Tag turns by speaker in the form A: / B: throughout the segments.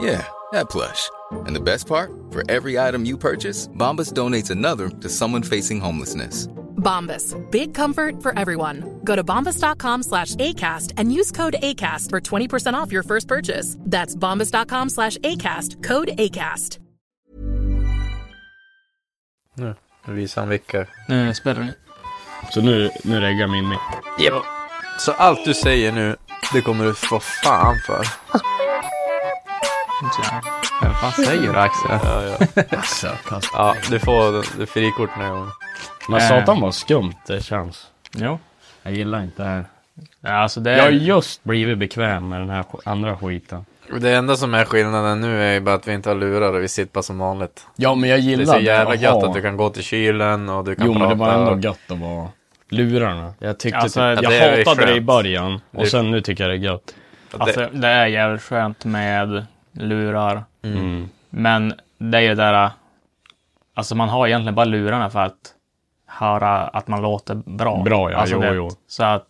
A: Yeah, that plush. And the best part? For every item you purchase, Bombas donates another to someone facing homelessness.
B: Bombas. Big comfort for everyone. Go to bombas.com slash ACAST and use code ACAST for 20% off your first purchase. That's bombas.com slash ACAST. Code ACAST.
C: Nu visar han vilka.
D: Nu spelar ni.
E: Så nu, nu reggar min mick.
C: Yep. Så allt du säger nu, det kommer du få fan för.
D: Ja. Vad fan säger du Axel?
C: Ja, ja.
E: Alltså, kast-
C: ja du får du frikort den här gången.
E: Men
D: Eh.
E: satan vad skumt det känns.
D: Jo.
E: Jag gillar inte det här.
D: Alltså det
E: Jag har
D: är...
E: just blivit bekväm med den här sk- andra skiten.
C: Och Det enda som är skillnaden nu är ju bara att vi inte har lurar och vi sitter bara som vanligt.
E: Ja, men jag
C: Det är
E: gillar
C: så jävla
E: att
C: gött
E: ha-
C: att du kan gå till kylen och du kan
E: Jo, men
C: prata.
E: det var ändå gött att vara lurarna. Jag tyckte
D: Alltså,
E: typ,
C: det är
E: jag hatade
C: skönt.
E: det i början och
C: Det-
E: sen nu tycker jag det är gött.
C: Att det-
D: Alltså det är jävligt skönt med lurar.
E: Mm.
D: Men det är ju det där... Alltså man har egentligen bara lurarna för att höra att man låter bra.
E: Bra, ja.
D: Alltså,
E: Jo,
D: det-
E: jo.
D: Så att...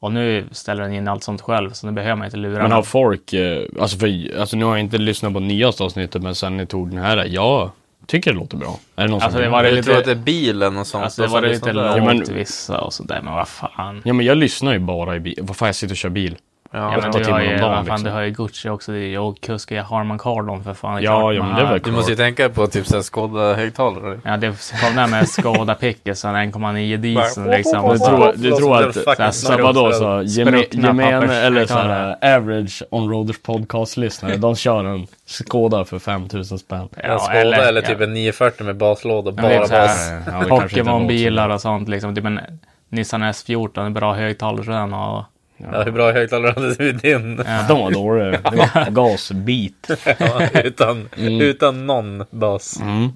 D: Och nu ställer den in allt sånt själv, så nu behöver man inte lurarna.
E: Men har folk, eh, alltså, för, alltså nu har jag inte lyssnat på nyaste avsnittet men sen ni tog den här, jag tycker det låter bra. Är det någon
D: Alltså,
E: som
D: det
E: var...
D: var-
C: Jag
D: lite-
C: tror att det är bilen och sånt.
D: Alltså det
C: som
D: var det lite
C: lyssnar på det.
E: Ja, men-
D: lågt vissa och sådär, men vad fan.
E: Ja men jag lyssnar ju bara i bil, vad fan jag sitter och kör bil.
D: Ja,
C: Ja,
D: men
E: åtta
D: du
E: timmar
D: har ju,
E: om
D: vad
E: dagen,
D: fan,
E: liksom.
D: du har ju Gucci också. Det är ju och kuskar ju Harman Kardon för fan. Det är
E: Ja,
D: klart
E: ja,
D: man
E: men det är väl
D: har-
C: du måste ju tänka på typ såhär Skoda-högtalare.
D: Ja, det kom där med Skoda Pickesen 1,9 diesel liksom.
E: Du tror, du tror att
D: fucking
E: såhär, vadå så, geme,
D: spruckna
E: gemene
D: pappers-
E: eller såhär average onroaders podcastlyssnare, de kör en Skoda för 5000 spänn.
C: en Skoda eller, typ en 940 med baslåda.
D: Ja, det är
C: Bara
D: så här.
C: bas.
E: Ja, det kanske inte var
D: Pokémon-bilar och sånt liksom. Typ en Nissan S14, bra högtalare den och...
C: Ja, hur bra högtalare hade du i din?
E: De var dåliga. Det var gasbit.
C: Ja, utan, utan någon bas.
E: Mm.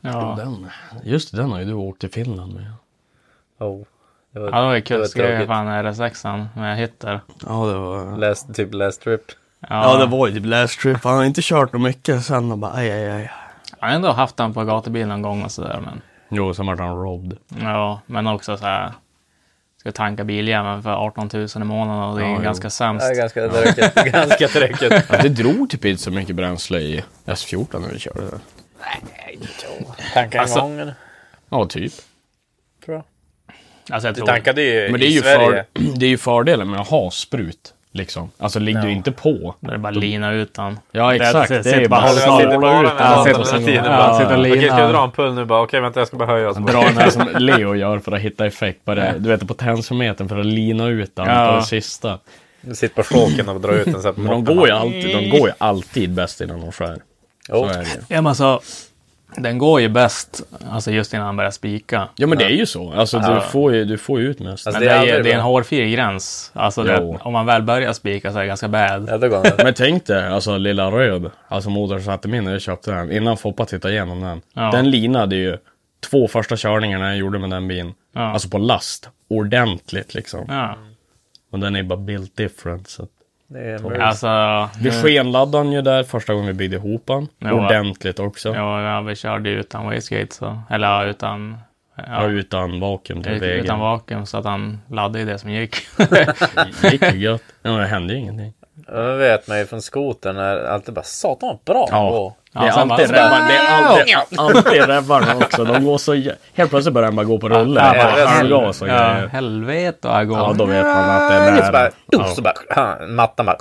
D: Ja,
E: Den. Just det, den har ju du åkt till Finland med.
C: Oh. Det var,
D: ja det var ju
C: det var
D: kuskar ju
C: tråkigt.
D: fan RS6an med hytter.
C: Ja, det var... Last, typ last trip.
D: Ja,
E: var ju typ last trip. Han har inte kört så mycket sen och bara aj, aj, aj.
D: Jag har ändå haft den på gatubil någon gång och sådär men...
E: Jo, sen vart han robbed.
D: Ja, men också så här. Ska tanka biljäveln för 18 000 i månaden och det är
E: Ja, jo.
D: ganska sämst.
C: Ja, ganska tråkigt. ganska tråkigt.
E: Ja, det drog typ inte så mycket bränsle i S14 när vi körde. det.
C: Tankar
D: Alltså-
C: gång, eller?
E: Ja, typ.
C: tror jag.
D: Alltså jag
C: Du
D: tror...
C: tankade ju
E: Men det är
C: i
E: ju,
C: Sverige.
E: för, det är ju fördelen med att ha sprut. Liksom. Alltså ligger du inte på.
D: När det bara lina ut den.
E: Ja, exakt.
D: Det,
E: Det,
D: det,
E: är bara
C: Jag
E: att
C: sitter bara
E: snåla
C: med
E: ut.
C: datorn
D: sitter-
C: hela
D: sitter-
C: tiden.
D: ja,
C: Bara,
D: sitter och
C: Okej, ska
D: linar.
C: jag dra en pull nu bara? Okej, vänta, jag ska bara höja. oss.
E: Dra den här som Leo gör för att hitta effekt på det. Du vet, på tensometern för att lina ut den
D: Ja.
E: på det sista.
C: Sitt på stråken och dra ut den så här på
E: Men de
C: mopparna.
E: går ju alltid, de går ju alltid bäst innan de skär. Så
C: Jo.
E: är det ju.
D: Ja, men alltså, den går ju bäst alltså just innan han börjar spika.
E: Ja men det är ju så. Alltså
C: Ja.
E: du får ju, du får ju ut mest.
C: Alltså,
D: Men
C: det är
D: det är,
C: aldrig
D: det är en
C: bra.
D: hårfin gräns. Alltså det,
E: Jo.
D: om man väl börjar spika så är det ganska bad.
C: Ja, då går den.
E: Men tänk dig, alltså lilla röd. Alltså motorsatte min när jag köpte den. Innan Foppa tittade igenom den.
D: Ja.
E: Den linade ju två första körningarna jag gjorde med den bilen.
D: Ja.
E: Alltså på last. Ordentligt liksom.
D: Ja.
E: Och den är ju bara built different. Så. att-
C: Det är en mur.
D: Alltså,
E: Vi skenladdade den ju där första gången vi byggde ihop den.
D: Ja.
E: Ordentligt också. Ja.
D: ja, ja, vi körde ju utan wastegate, så, eller ja, utan, ja,
E: utan vakuum till vägen.
D: utan vakuum så att han laddade ju det som gick.
E: Det gick ju gött. Ja, men det hände ju ingenting.
C: Jag vet man ju från skotern är alltid bara satan vad bra den
E: Ja.
C: går.
E: det är
D: sen bara-
E: alltid rävar, det är alltid, alltid rävarna också. De går så jä- Helt plötsligt börjar den bara gå på rulle.
D: Ja,
C: bara-
E: Ja, Avgas och
D: Ja,
E: grejer.
D: helvete vad jag går.
E: Ja, då vet man att det är
C: Så bara,
E: nära.
C: uh, så bara, ha, mattan bara.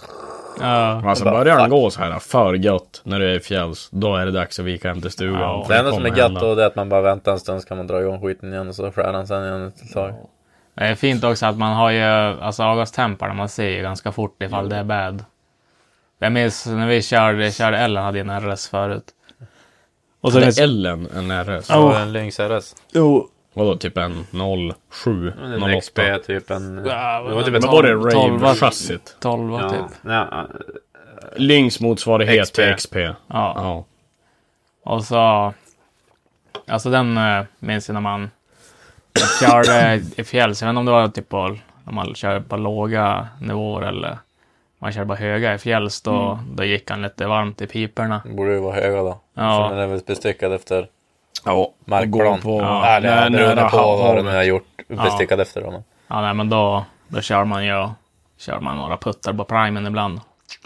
D: Ja.
E: Men Alltså
C: Bara,
E: börjar den
C: fuck.
E: gå så här för gött när du är i fjälls, då är det dags att vika hem till stugan.
D: Ja.
E: för
C: Det enda som
E: kommer
C: är gött
E: hända.
C: då det är att man bara väntar en stund så kan man dra igång skiten igen och så skär den sen igen ett tag.
D: Det är fint också att man har ju, alltså Agastemparna, man ser ju ganska fort ifall det är bad. Jag minns när vi körde, körde Ellen hade ju en RS förut. Och så
E: Hade
D: minns,
E: Ellen en RS?
D: Ja.
F: Och en Lynx RS.
C: Jo.
E: Vadå, typ en 07,
C: En
E: 08?
C: XP typ en...
D: Ja,
C: Det var typ
E: Men
C: ett...
E: var det
D: Tolv-
E: rave-chassit?
D: 12
C: Ja,
D: typ.
C: ja,
E: Lynx motsvarighet
C: XP.
E: till XP. Ja.
D: Ja. Och så... Alltså den eh, minns jag när man körde i fjälls. Jag vet inte om det var typ på, när man körde på låga nivåer eller man körde på höga i fjälls. Då,
E: Mm.
D: då gick han lite varmt i piporna.
C: Borde ju vara höga då.
D: Ja.
C: Ja. Sen är det väl bestyckad efter
E: ja.
C: markplan.
E: Gå på,
C: Ja, eller
E: nä-
C: ja,
E: nära
C: beroende på vad det nu
E: havhavet.
C: har gjort. Bestyckad efter honom.
D: Ja, nej, men då, då kör man ju kör man några puttar på primen ibland.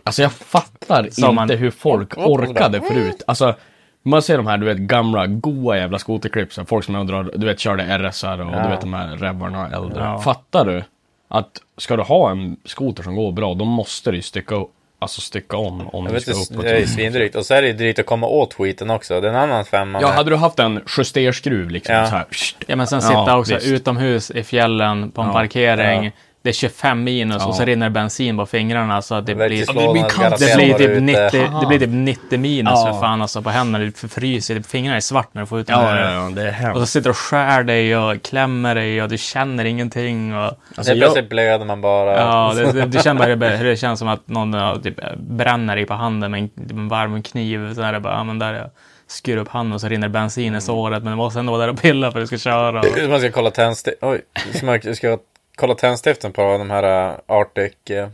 E: Alltså jag fattar
D: Sa
E: inte
D: man-
E: hur folk orkade
C: Mm.
E: förut. Alltså, man ser de här du vet, gamla goa jävla skoterklipsen. Folk som är och drar, du vet, körde RSR och du vet de här rävarna äldre.
D: Ja.
E: Fattar du? Att ska du ha en skoter som går bra, då måste du ju stycka, o- alltså stycka om. om
C: Jag
E: du
C: vet
E: ska
C: inte,
E: upp
C: det är ju svindrygt. Och så är det ju drygt att komma åt skiten också. Det är en annan femma.
E: Ja,
C: med-
E: hade du haft en justerskruv liksom
C: Ja.
E: så här. pst.
D: Ja, men sen
E: Ja,
D: sitta också
E: visst.
D: utomhus i fjällen på en
E: Ja,
D: parkering.
C: ja.
D: Det är 25 minus och så
E: Ja.
D: rinner bensin på fingrarna så att det blir...
C: Växelslådan
E: det blir kallt.
C: garanterat
D: Det
E: Sen
D: blir,
C: var
D: typ
C: ute. Alltså,
D: 90, det blir typ 90 minus
E: Ja.
D: för fan alltså på händerna. Du förfryser, dina fingrar är svart när du får ut den
E: Ja,
D: där.
E: ja, ja, det är
D: Och så
E: hemskt.
D: sitter du och skär dig och klämmer dig och du känner ingenting. Och,
E: Alltså,
C: det är
E: jag-
C: plötsligt blöder man bara.
D: ja, det, det, du känner bara hur det, hur det känns som att någon ja, typ, bränner dig på handen med en, en varm kniv. Så är det bara, ja, men där jag skur upp handen och så rinner bensin
E: Mm.
D: i såret. Men du måste ändå vara där och pilla för att du ska köra. Och,
C: Man ska kolla tändstiften. Oj, så man ska kolla tändstiften på de här äh, Arctic. äh,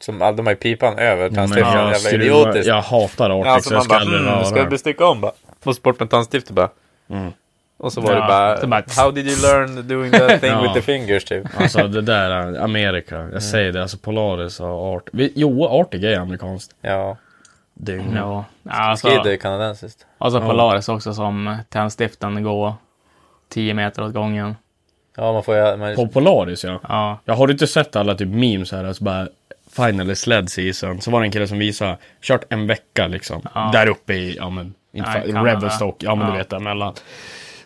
C: Som, all- de har ju pipan över
E: Men
C: tändstiften.
E: jag
C: Jävla
E: skruvar-
C: idiotiskt.
E: Jag hatar Arctic,
C: alltså
E: så
C: man
E: jag ska
C: bara,
E: aldrig
C: mm,
E: röra
C: ska
E: den.
C: vi stycka om bara? Måste bort med tandstiftet bara. Och så var
D: Ja,
C: det bara,
D: så bara-
C: How did you learn doing that thing
E: Ja.
C: with the fingers typ?
E: Alltså det där, är Amerika. Jag säger det, alltså Polaris och Art. Vi, jo, Arctic är amerikanskt. Mm.
C: Ja.
E: Dygn.
D: ja, alltså,
C: Skid är ju kanadensiskt.
D: alltså Polaris också som tändstiften går 10 meter åt gången.
C: Ja, man får ju... Man,
E: På Polaris ja.
D: Ja,
E: Jag har du inte sett alla typ memes här, alltså bara Finally sled season. Så var det en kille som visade, kört en vecka liksom. Där uppe i, ja men, inte
D: Nej,
E: fa-
D: Kanada.
E: Revelstock, ja men
D: Ja.
E: du vet där mellan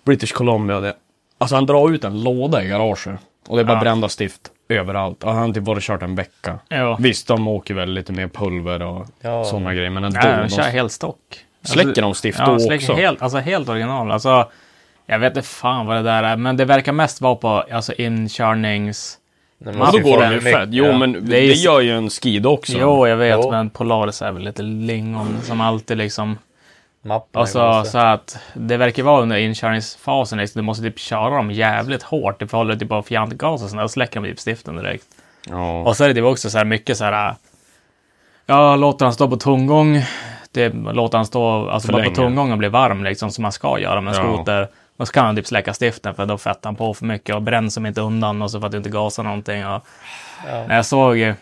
E: British Columbia och det. Alltså han drar ut en låda i garaget. Och det är bara
D: Ja.
E: brända stift överallt. Och han har typ bara kört en vecka.
D: Ja.
E: Visst, de åker väl lite mer pulver och
C: Ja.
E: sådana grejer, men ändå.
D: ja de
E: de
D: kör helt stock. Alltså,
E: släcker de stift då
D: Ja, släcker
E: också?
D: helt, alltså helt original. Alltså, jag vet inte fan vad det där är, men det verkar mest vara på alltså, inkörnings...
C: man
E: Ja,
C: måste
E: då
C: ju
E: går
C: få
E: de ju
C: mycket-
E: fett. Jo,
C: ja.
E: men
D: Det
E: det,
D: är ju-
E: gör ju en skid också.
D: Jo, jag vet,
C: Jo.
D: men Polaris är väl lite lingon som alltid liksom...
C: Mappen
D: Alltså, så att det verkar vara under inkörningsfasen, liksom, du måste typ köra dem jävligt hårt. Du förhåller dig typ av fjantgas och sådär, och släcker de typ stiften direkt.
E: Ja.
D: Och så är det typ också så här mycket så här... äh, Ja, låter han stå på tomgång. Det, låter han stå alltså
E: För
D: bara på
E: länge.
D: tomgång och bli varm liksom, som man ska göra med en
E: Ja.
D: skoter. Och så kan han typ släcka stiften för då fettar han på för mycket och bränns som inte undan och så för att du inte gasar någonting. Och, När jag såg... eh,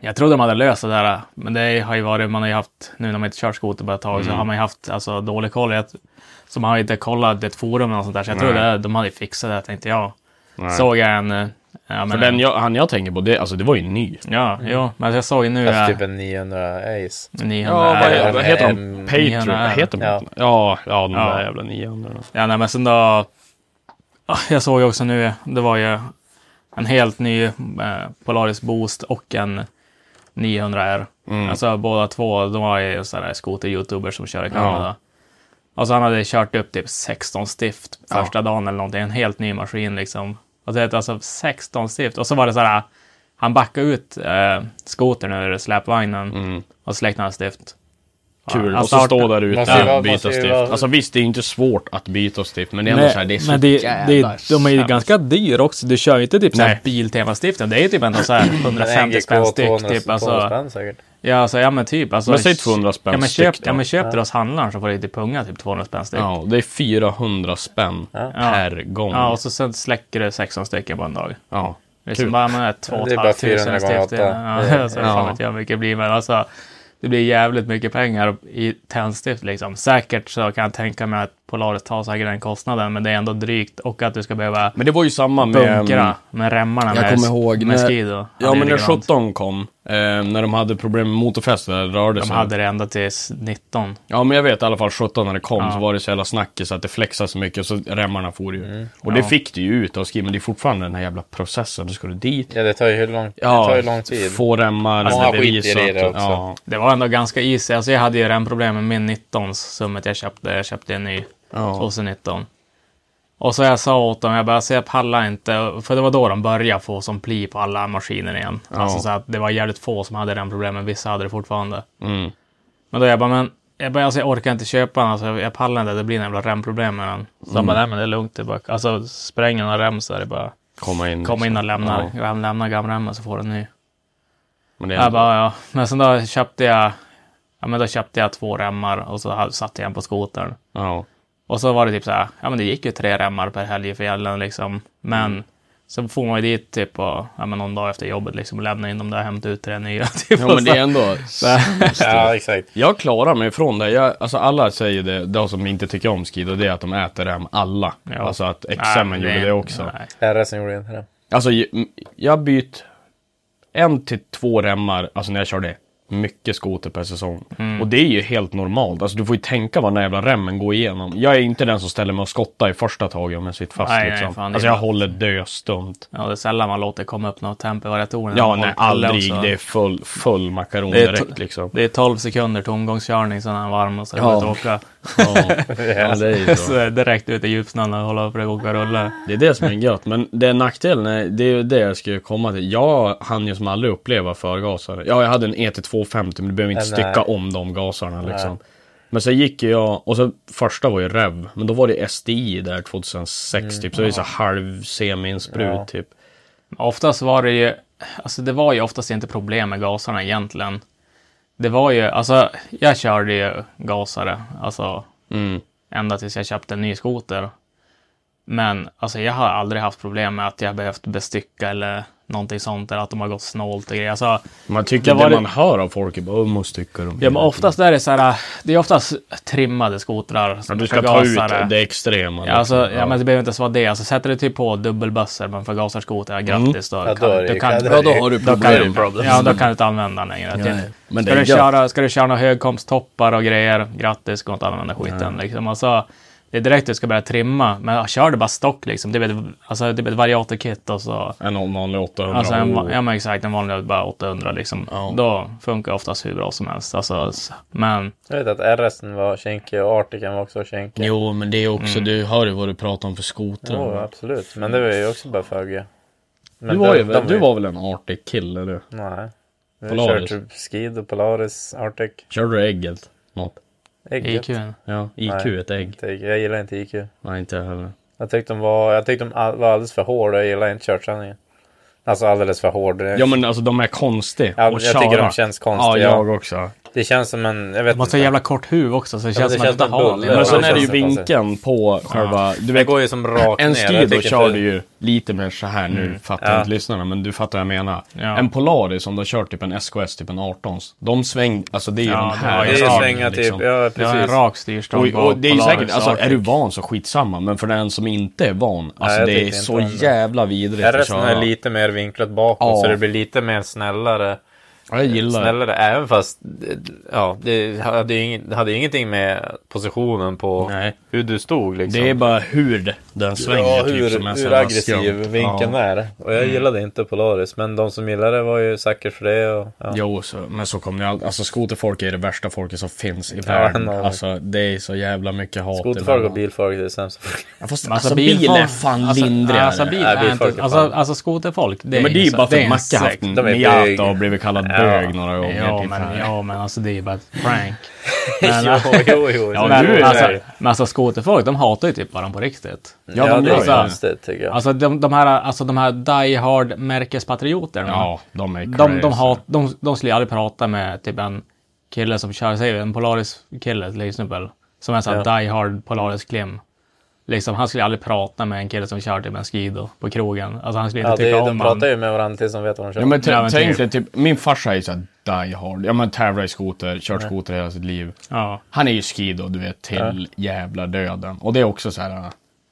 D: Jag trodde de hade löst det där, äh, men det har ju varit, man har ju haft, nu när man inte kört skoter på ett tag,
E: Mm.
D: så har man ju haft alltså, dålig koll. Jag- Så man har ju inte kollat ett forum eller något sånt där, så jag trodde de hade fixat det, tänkte jag. Såg jag en... eh, Ja,
E: För
D: men,
E: den jag, han jag tänker på, det, alltså det var ju ny.
D: Ja, jo, men jag såg ju nu...
C: Mm. Alltså
D: eh,
C: typ en 900 Ace.
D: 900 ja,
C: är-
E: vad
C: vad
E: heter
C: heter
E: de?
C: de?
D: Niohundra
E: Patriot?
D: är.
E: Heter de?
C: Ja.
E: Ja, ja, de
D: Ja.
E: där jävla 900.
D: ja, nej, men sen då... Ah, Jag såg ju också nu, det var ju en helt ny eh, Polaris Boost och en 900R.
C: Mm.
D: Alltså båda två, de var ju sådär skoter-youtubers som kör i Kanada. Alltså han hade kört upp typ 16 stift första dagen eller någonting. En helt ny maskin liksom. Och det är alltså 16 stift. Och så var det sådär, han backade ut eh, skotern ur släpvagnen
C: Mm.
D: och släckte hans stift.
E: Kul.
D: Ja,
E: och
D: Alltså,
E: så
D: starta-
E: stå där ute
C: Måste ju vara-
E: och byta
C: måste ju
E: stift.
C: vara-
E: Alltså visst, det är ju inte svårt att byta stift, men det är ändå så här, det är så
D: men det,
E: jävla
D: det, de är ju
E: sämst.
D: ganska dyra också. Du kör ju inte typ så här
E: Nej.
D: Biltema-stiften. Det är ju typ ändå så här 150 spänn styck. Typ, alltså,
C: spänn säkert.
D: ja, alltså, ja, men typ. Alltså,
E: Men säg 200 spänn
D: ja, men
E: styck
D: köp,
E: då.
D: ja, men köp det hos handlaren så får du typ punga typ 200 spänn styck. Ja.
E: Ja, det är 400 spänn per gång.
D: och så sen släcker du 16 stycken på en dag.
E: Ja.
D: Det är
E: Kul.
D: som bara med 2
C: Det är bara
D: 500
C: 400 gånger
D: stift.
C: åtta.
D: Ja, alltså,
E: Ja.
D: Fan vet jag hur mycket det blir. Men alltså, det blir jävligt mycket pengar i tändstift liksom. Säkert så kan jag tänka mig att Polaris tar säkert den kostnaden, men det är ändå drygt och att du ska behöva
E: Men det var ju samma med...
D: bunkra med remmarna
E: Jag
D: med,
E: kommer ihåg
D: med
E: när-
D: skid och
E: Ja, men när 17 kom, Eh, när de hade problem med motorfäste, där rörde
D: De
E: sig.
D: hade det ända tills 19.
E: Ja, men jag vet i alla fall 17 när det kom
D: Ja.
E: så var det så jävla snackis att det flexade så mycket så remmarna for ju.
C: Mm.
E: Och det
D: Ja.
E: fick det ju ut av skin, men det är fortfarande den här jävla processen. Då ska du dit.
C: Ja, det tar ju hur lång, det tar ju lång tid.
E: få remmar,
C: Många
E: det är bevisat,
C: skiter i det också.
E: Ja,
D: Det var ändå ganska easy. Alltså jag hade ju remproblem med min 19 summet jag köpte. Jag köpte en ny
E: Ja.
D: 2019. Och så jag sa åt dem, jag bara, så jag pallar inte. För det var då de började få som pli på alla maskiner igen. Alltså så att det var jävligt få som hade remproblem, men vissa hade det fortfarande.
E: Mm.
D: Men då jag bara, men jag, bara, alltså, jag orkar inte köpa den, alltså, jag pallar inte, det blir en jävla remproblem med den. Så de bara, nej men det är lugnt, det är bara, alltså spräng den och rem så är det bara,
E: komma in. liksom.
D: kom in och
E: Mm, Ja.
D: lämna, ja. lämna gamremmen så får du en ny.
E: Men det är
D: Jag bara, ja. Men sen då köpte jag, ja men då köpte jag två remmar och så ha- satte jag en på skotern.
E: ja.
D: Och så var det typ så här, ja men det gick ju tre remmar per helg i fjällen liksom. Men
E: Mm.
D: så får man ju dit typ och, ja men någon dag efter jobbet liksom och lämna in dem där och hämta ut tre nya. Typ,
E: ja,
D: och
E: men
D: så-
E: det är ändå...
C: Ja, exakt.
E: Jag klarar mig ifrån det. Jag, alltså alla säger det, de som inte tycker om skid, och det är att de äter rem, alla.
D: Ja.
E: Alltså att
D: Nej,
E: XM
D: men
E: gjorde det också.
D: nej.
C: RS gjorde inte det.
E: Alltså, ju- m- jag byt en till två remmar, alltså när jag körde mycket skoter per säsong.
D: Mm.
E: Och det är ju helt normalt. Alltså du får ju tänka vad den här jävla remmen går igenom. Jag är inte den som ställer mig och skottar i första taget om jag sitter fast
D: Nej, nej,
E: liksom.
D: fan, det är
E: alltså jag
D: bra.
E: håller döstumt.
D: Ja, det är sällan man låter komma upp något temp i variatorerna.
E: Ja,
D: Man
E: nej,
D: håller koll
E: aldrig.
D: också.
E: Det är full, full makaron
D: Det är
E: direkt
D: to-
E: liksom.
D: Det är 12 sekunder tomgångskörning, sen är han varm och så är det
E: Ja.
D: bara att åka.
E: Ja. ja, det är ju så.
D: Så är det direkt ut i djupsnön och hålla på att åka rulla.
E: Det är det som är gött, men det är nackdelen, är- det är ju det jag skulle komma till. Jag hann ju som aldrig uppleva förgasare. Ja, jag hade en ET250, men du behöver inte
C: Nej, nej.
E: stycka om de gasarna liksom. Men så gick ju jag, och så första var ju REV, men då var det SDI där 2006 typ, så det är så halv semi-insprut typ.
D: Oftast var det ju, alltså det var ju oftast inte problem med gasarna egentligen. Det var ju, alltså jag körde ju gasare, alltså
E: Mm.
D: ända tills jag köpte en ny skoter. Men alltså jag har aldrig haft problem med att jag behövt bestycka eller någonting sånt, eller att de har gått snålt och grejer. Alltså,
E: Man tycker
D: Det
E: det,
D: var det-
E: man hör av folk är bara, "Åh, måste stycka dem.
D: Ja, men oftast är det så här, det är oftast trimmade skotrar.
E: Ja,
D: som
E: du ska ta
D: förgasare.
E: ut det extrema.
D: Ja, alltså,
E: liksom.
D: ja, men det behöver inte ens vara det. Alltså, sätter du typ på dubbelbössor men förgasar skoter, ja, grattis. Då,
C: Ja, då är det ju- ja,
E: Ja, då har du
D: då kan,
E: problem.
D: du, ja, då kan du inte använda den längre. Typ.
E: Nej, men
D: ska,
E: det är
D: du
E: gött.
D: köra, ska du köra några högkomsttoppar och grejer, grattis, går inte att använda skiten. Liksom. Alltså, det är direkt du ska börja trimma, men ja, kör du bara stock liksom. Det är ett, alltså, det är ett variatorkit och så.
E: En vanlig 800.
D: Alltså en, va-
E: Oh.
D: ja men exakt, en vanlig bara 800 liksom.
E: Ja.
D: Då funkar oftast hur bra som helst. Alltså, s- men
C: Jag vet att RS var kinkig och Artican var också kinkig.
E: Jo, men det är också,
D: Mm.
E: du hör ju vad du pratar om för skotrar.
C: Jo, absolut. Men det var ju också bara föga.
E: Mm. Du
C: Men
E: var,
C: de-
E: ju,
C: de
E: väl- du var väl en artig kille du?
C: Nej. Vi
E: Polaris.
C: Polaris. körde typ Skid och Polaris, Arctic.
E: Körde du ägget? Något?
D: IQ.
C: Ägget.
E: Ja, IQ
C: Nej.
E: ett ägg.
C: Inte ägg. Jag gillar inte IQ.
E: Nej, inte jag heller.
C: Jag tyckte de var, jag tyckte de all, var alldeles för hårda. Jag gillar inte körträningen. Alltså alldeles för hård.
E: Ja men alltså de är konstiga.
C: Ja,
E: att
C: jag tycker
E: köra.
C: de känns
E: Ja,
C: konstiga.
E: jag också.
C: Det känns som en, jag vet
D: De har så jävla kort huvud också, så det
C: Ja,
D: känns
C: det
D: som
C: känns
D: att man
C: som
D: inte har
C: en
D: det.
C: bulle.
E: Men
D: Men
C: Ja,
E: sen
C: det
E: är det ju
C: känns inte
E: vinkeln på själva... Du
C: Det
E: vet,
C: går ju som rakt
E: en
C: ner. Jag
E: skid då
C: tycker
E: kör
C: inte-
E: du ju lite mer så här
C: Mm.
E: nu, fattar inte lyssnarna, men du fattar vad jag menar.
D: Ja.
E: En Polaris som du har kört typ en SKS, typ en 18 de sväng... Alltså det är ju
D: Ja,
E: de
D: det
E: här...
D: har
C: Det
D: ju
C: är
D: Ja,
C: ju
E: dragen,
C: svänga typ.
E: liksom.
C: Ja,
D: det är en
C: precis.
D: rak styrstång
E: Och, och
D: på
E: det är ju
D: Polaris typ.
E: säkert, alltså
D: Arctic.
E: är du van så skitsamma, men för den som inte är van, alltså
C: jag
E: det är
C: tycker inte
E: så
C: om det.
E: jävla vidrigt
C: RS är lite mer vinklat bakåt
E: Ja.
C: så det blir lite mer snällare.
E: Ja, jag gillar det.
C: Snällare även fast eh, ja, det hade, ju ing, det hade ju ingenting med positionen på
E: Nej.
C: hur du stod liksom.
E: Det är bara hur det- den svänger
C: ja,
E: typ
C: hur,
E: som är så
C: hur
E: jävla
C: aggressiv
E: skumt.
C: vinkeln
E: ja. Mm.
C: är. Och jag gillade inte Polaris men de som gillade det var ju säkert för det. Och, ja.
E: Jo, så, men så kommer det alltid. Alltså skoterfolk är det värsta folket som finns i
C: Ja,
E: världen.
C: nej.
E: alltså det är så jävla mycket hat
C: Skoterfolk och bilfolk det är sämst.
E: Ja, fast,
D: Men
E: alltså bil är fan
D: alltså,
E: lindrigare.
D: Alltså, bil
C: Nej,
D: är
C: bilfolk
D: inte,
C: är
D: alltså,
C: fan-
D: alltså skoterfolk, det är
E: ja, men det är ju
D: insekt-
E: bara för att
D: en
E: Macke haft
D: sekt.
E: en
C: De är bög.
E: Miata och blivit kallad bög några gånger.
D: Ja
E: typ
D: men,
E: här.
D: ja, men alltså det är ju bara ett prank. Men,
C: jo, jo, jo.
D: ja,
C: men,
D: men,
E: är
D: alltså,
C: det.
D: men alltså skoterfolk, de hatar ju typ varandra på riktigt.
E: Ja,
C: ja,
E: de
C: det
E: gör
C: är
E: ju det.
C: konstigt tycker jag.
D: Alltså de, de här, alltså, de här die hard märkespatrioterna.
E: Ja, de är
D: De, de,
E: crazy.
D: hat, de, de skulle ju aldrig prata med typ en kille som kör, säg en Polaris-kille till exempel, som är sån här die hard Polaris-klim. Liksom, han skulle aldrig prata med en kille som kör typ en Skido på krogen. Alltså han skulle inte
C: ja, det,
D: tycka om
C: de
D: han.
C: pratar ju med varandra tills de vet vad de kör.
E: Ja men, t-
D: Ja, men typ.
E: tänk dig typ, min farsa är ju såhär die hard. Ja men tävlar i skoter, kört skoter hela sitt liv.
D: Ja.
E: Han är ju skido, du vet, till jävla döden. Och det är också så här. äh,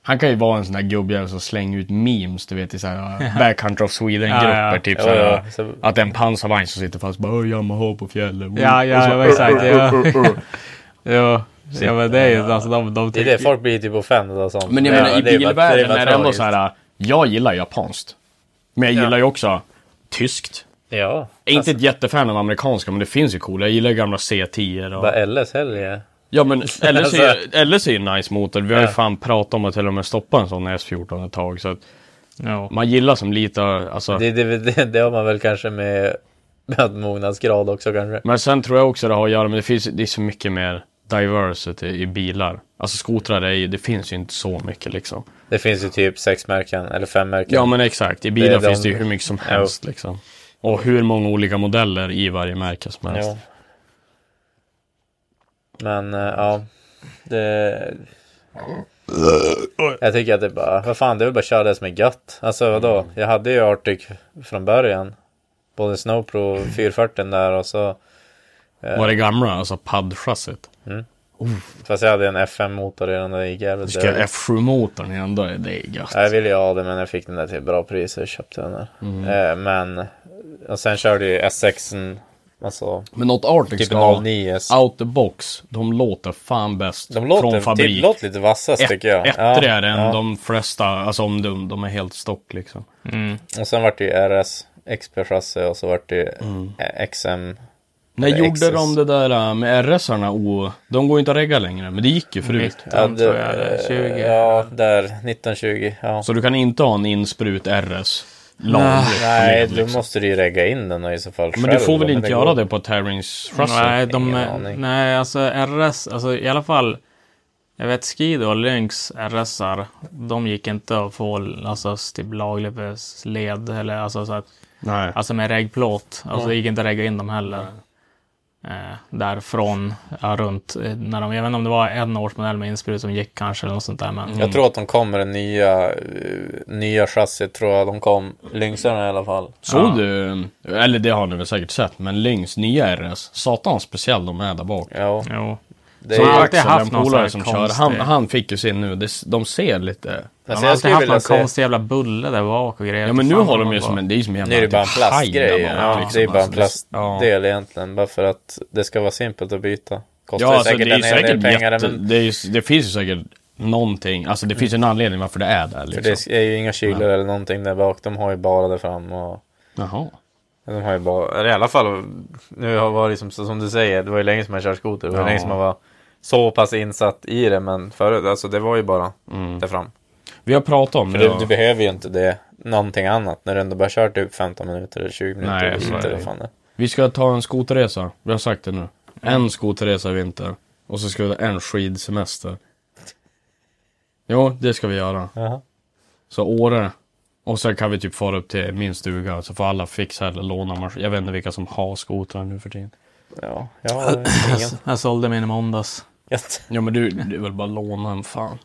E: Han kan ju vara en sån där gubbjävel som slänger ut memes, du vet i såhär backcountry of Sweden-grupper.
D: Ja, ja.
E: Typ
C: Ja,
E: såhär,
C: ja. Så-
E: att det är en pansarvagn som sitter fast bara "Åh, Yamaha på fjället. woo."
D: Ja,
E: Och så-
D: ja,
C: Mm.
D: ja exakt. Ja, ja. ja men det är ju alltså de, de
C: Det är det, folk blir typ offended och sånt.
E: Men jag
C: Det är-
E: menar, i
C: det är bara-
E: bilvärlden
C: bara
E: är det ändå
C: tragiskt.
E: så här. äh, jag gillar japanskt. Men jag
C: Ja. Alltså-
E: gillar ju också tyskt.
C: Ja.
E: Jag är inte ett jättefan av amerikanska, men det finns ju coola. Jag gillar ju gamla C10 och...
C: Bara LS helg.
E: Ja men LS är,
C: Alltså-
E: LS är ju en nice motor. Vi har ju
C: Ja.
E: fan pratat om att till och med stoppa en sån S14 ett tag. Så att
D: Ja.
E: man gillar som lite, alltså.
C: Det, det, det, det har man väl kanske med, med mognadsgrad också kanske.
E: Men sen tror jag också det har att göra med, det finns, det är så mycket mer diversity i bilar. Alltså skotrar är ju, det finns ju inte så mycket liksom.
C: Det finns ju typ sex märken eller fem märken.
E: Ja men exakt, i bilar
C: Det är de-
E: finns det ju hur mycket som
C: Ja.
E: helst liksom. Och hur många olika modeller i varje märke som helst.
C: Jo. Men eh, ja, det... Jag tycker att det är bara, vad fan det är väl bara att köra det som är gött. Alltså vadå, jag hade ju Arctic från början. Både Snowpro 440 där och så,
E: Var det gamla, alltså paddchassit?
C: fast jag hade en FM-motor redan när det gick jävligt
E: Ska
C: dåligt.
E: F7-motorn igen då? Det är gött.
C: Ja, Jag ville ju ha det men jag fick den där till bra pris så jag köpte den där. Eh, men, och sen körde ju S6, en, alltså
E: Men något Arctic
C: typ
E: ska ha.
C: 09.
E: Out the box, de låter fan bäst.
C: De
E: från
C: låter,
E: fabrik.
C: typ, låter lite vassast tycker jag.
E: Ettrigare än de flesta, alltså om de, de är helt stock liksom.
C: Och sen vart det ju RS, XP-chassi och så vart det ju eh, XM.
E: När
C: Eller
E: gjorde
C: XS.
E: de det där äh, med RS-arna? Oh, de går ju inte att regga längre, men det gick ju förut.
C: Ja,
D: Nitton tror jag, eller
C: eh,
D: 20.
C: Ja, där. 1920. Ja.
E: Så du kan inte ha en insprut RS lagligt.
C: Nej,
E: liksom.
C: då måste du ju regga in den och i så fall
E: Men du
C: själv
E: får väl
C: då, men
E: inte göra
C: går-
E: det på Terrings Russell?
D: Nej, de,
C: Ingen aning.
D: nej, alltså RS, alltså i alla fall. Jag vet Skido och Lynx RSar, de gick inte att få alltså, typ laglig för led eller alltså, så att,
E: Nej.
D: alltså med regplåt. Alltså det gick inte att regga in dem heller. Eh, därifrån, ja, runt, eh, när de, jag vet inte om det var en årsmodell med insprut som gick kanske eller något sånt där. Men,
C: Jag tror att de kommer en nya, eh, nya chassit tror jag de kom. Lynxarna i alla fall.
E: Såg du, eller det har ni väl säkert sett, men Lynx nya RS, satan speciell de är där bak.
C: Ja,
D: Jo.
C: det
D: Så
C: är
E: Axel,
D: har
C: ju...
D: alltid haft
E: den
D: någon sån
E: polare som
D: här
E: kör,
D: konstig-
E: han, han fick ju sin nu, det, s- de ser lite...
D: De
C: Alltså,
D: har
C: jag
D: alltid
C: skulle
D: haft någon
C: vilja se...
D: konstig jävla bulle där bak och grejer.
E: Ja men nu
D: Fan,
E: har de
D: vad
E: ju
D: bra.
E: som en, det är ju som en jävla
C: Nu är det bara en
E: typ haj där
C: plastgrej.
E: bak,
C: Ja,
E: liksom.
C: det är bara en
E: Alltså, det- ja.
C: plastdel egentligen. Bara för att det ska vara simpelt att byta. Kostar
E: Ja,
C: ju
E: alltså,
C: säkert
E: det är
C: en hel
E: säkert
C: del pengar.
E: jätte,
C: men
E: det, är, ju- det finns ju säkert någonting, alltså det finns ju en anledning varför det är där
C: för
E: liksom.
C: det är ju inga kylor eller någonting där bak. De har ju bara där fram och...
E: Jaha.
C: De har ju bara, eller i alla fall, nu har varit som, som du säger, det var ju länge som man kör skoter. Det var
E: Ja.
C: länge som man var så pass insatt i det, men förut, alltså det var ju bara
E: Mm.
C: där fram.
E: Vi har pratat om
C: För
E: det.
C: du, du behöver ju inte det, någonting annat, när du ändå bara kör typ 15 minuter eller 20 minuter.
E: Nej,
C: eller
E: så är
C: inte,
E: det.
C: vad fan det. är.
E: Vi ska ta en skoterresa, vi har sagt det nu. En skoterresa i vinter. Och så ska vi ha en skidsemester. Jo, det ska vi göra.
C: Jaha.
E: Så Åre. Och sen kan vi typ fara upp till min stuga, så får alla fixa eller låna maskin. Jag vet inte vilka som har skotrar nu för tiden.
C: Ja, jag har ingen.
D: Jag sålde min i måndags.
E: Ja men du, det är väl bara låna en fan.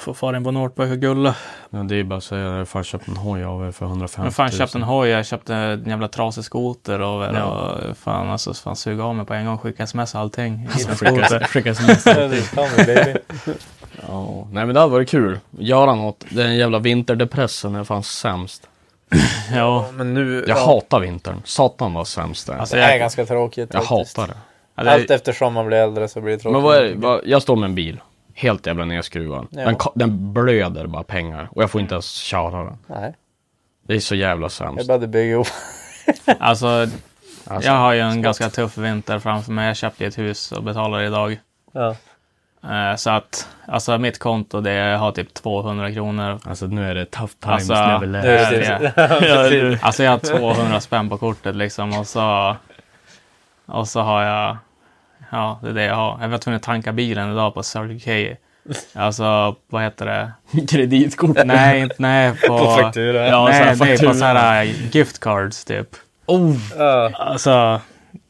D: Får fara in på Nortback och gulla.
E: Ja, det är bara att säga, jag har fan köpt en hoj av er för 150 000.
D: Men fan, jag köpte en hoj, jag köpte en jävla trasig skoter och,
E: Ja.
D: och fan, alltså, fan suga av mig på en gång, skicka sms och allting.
E: Så Alltså, skicka, skicka sms. Ja, nej men det hade varit kul. Göra något. Den jävla vinterdepressen är fan sämst.
D: ja,
C: Men nu,
E: Jag hatar vintern. Satan vad sämst det är.
D: alltså,
C: det är
D: jag,
C: ganska tråkigt.
E: jag
C: faktiskt.
E: hatar det. Alltså,
D: ja, det,
C: Allt
D: är-
C: eftersom man blir äldre så blir det tråkigt.
E: Men vad är det? Vad- Jag står med en bil. Helt jävla nedskruvad.
C: Ja.
E: Den, ka- den blöder bara pengar. Och jag får inte ens köra den.
C: Nej,
E: Det är så jävla
C: jag
E: sämst.
C: började bygga ihop.
D: alltså,
E: Alltså,
D: jag har ju en ganska tuff vinter framför mig. Jag köpte ju ett hus och betalar idag.
C: Ja.
D: Eh, så att, alltså mitt konto, det jag har typ 200 kronor.
E: Alltså nu är det tough times
D: Alltså,
E: never left.
C: Nu är det
D: Ja,
C: precis.
D: Alltså jag har 200 spänn på kortet liksom och så, och så har jag, ja det är det jag har. Jag var tvungen att tanka bilen idag på Circle K. Alltså vad heter det?
E: Kreditkort.
D: Nej, inte, nej på,
C: På faktura.
D: Ja,
E: så
D: nej,
E: här
D: nej,
E: faktura.
D: på så här äh, gift cards typ.
E: Oh,
D: Alltså,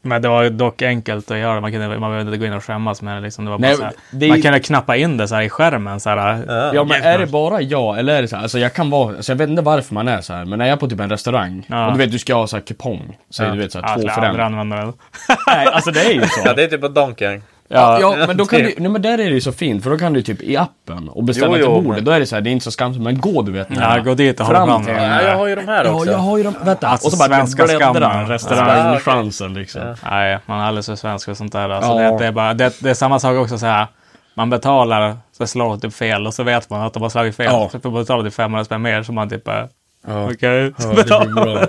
D: men det var dock enkelt att göra. Man, kunde, man behövde inte gå in och skämmas med det. Liksom. det, var bara
E: Nej,
D: så här,
E: det-
D: Man kunde knappa in det så här i skärmen. Så här, äh,
E: ja men är det bara jag eller är det så här, alltså jag kan vara, alltså jag vet inte varför man är så här, men när jag är på typ en restaurang
D: Ja.
E: och du vet du ska ha så här kupong, så du vet så här,
D: Ja,
E: två
D: skulle
E: för
D: aldrig
E: en.
D: använda den.
E: Nej, alltså det är ju så.
C: Ja, det är typ på Donken.
E: Ja, ja men då kan du, nej men där är det ju så fint för då kan du typ i appen och
C: Jo,
E: beställa
C: jo,
E: till bordet.
C: men-
E: Då är det så här, det är inte så skamligt men gå du vet.
D: Ja, gå dit och håll
E: Fram
D: fram
E: till-
D: den.
C: Ja, jag har ju de här
E: Ja,
C: också.
E: jag har ju de, vänta.
D: Alltså,
E: och så bara
D: svenska
E: bläddra.
D: skammen, restaurang.
C: Ja, okej.
E: Restaurangchansen liksom.
D: Nej, man är alldeles för svensk för sånt där. Alltså,
E: Ja.
D: det, det, är bara, det, det är samma sak också så här. Man betalar, så slår det typ fel och så vet man att de har slagit fel.
E: Ja.
D: Så får man betala typ 500 spänn mer så man typ bara,
E: Ja.
D: okej.
E: Ja, det blir bra.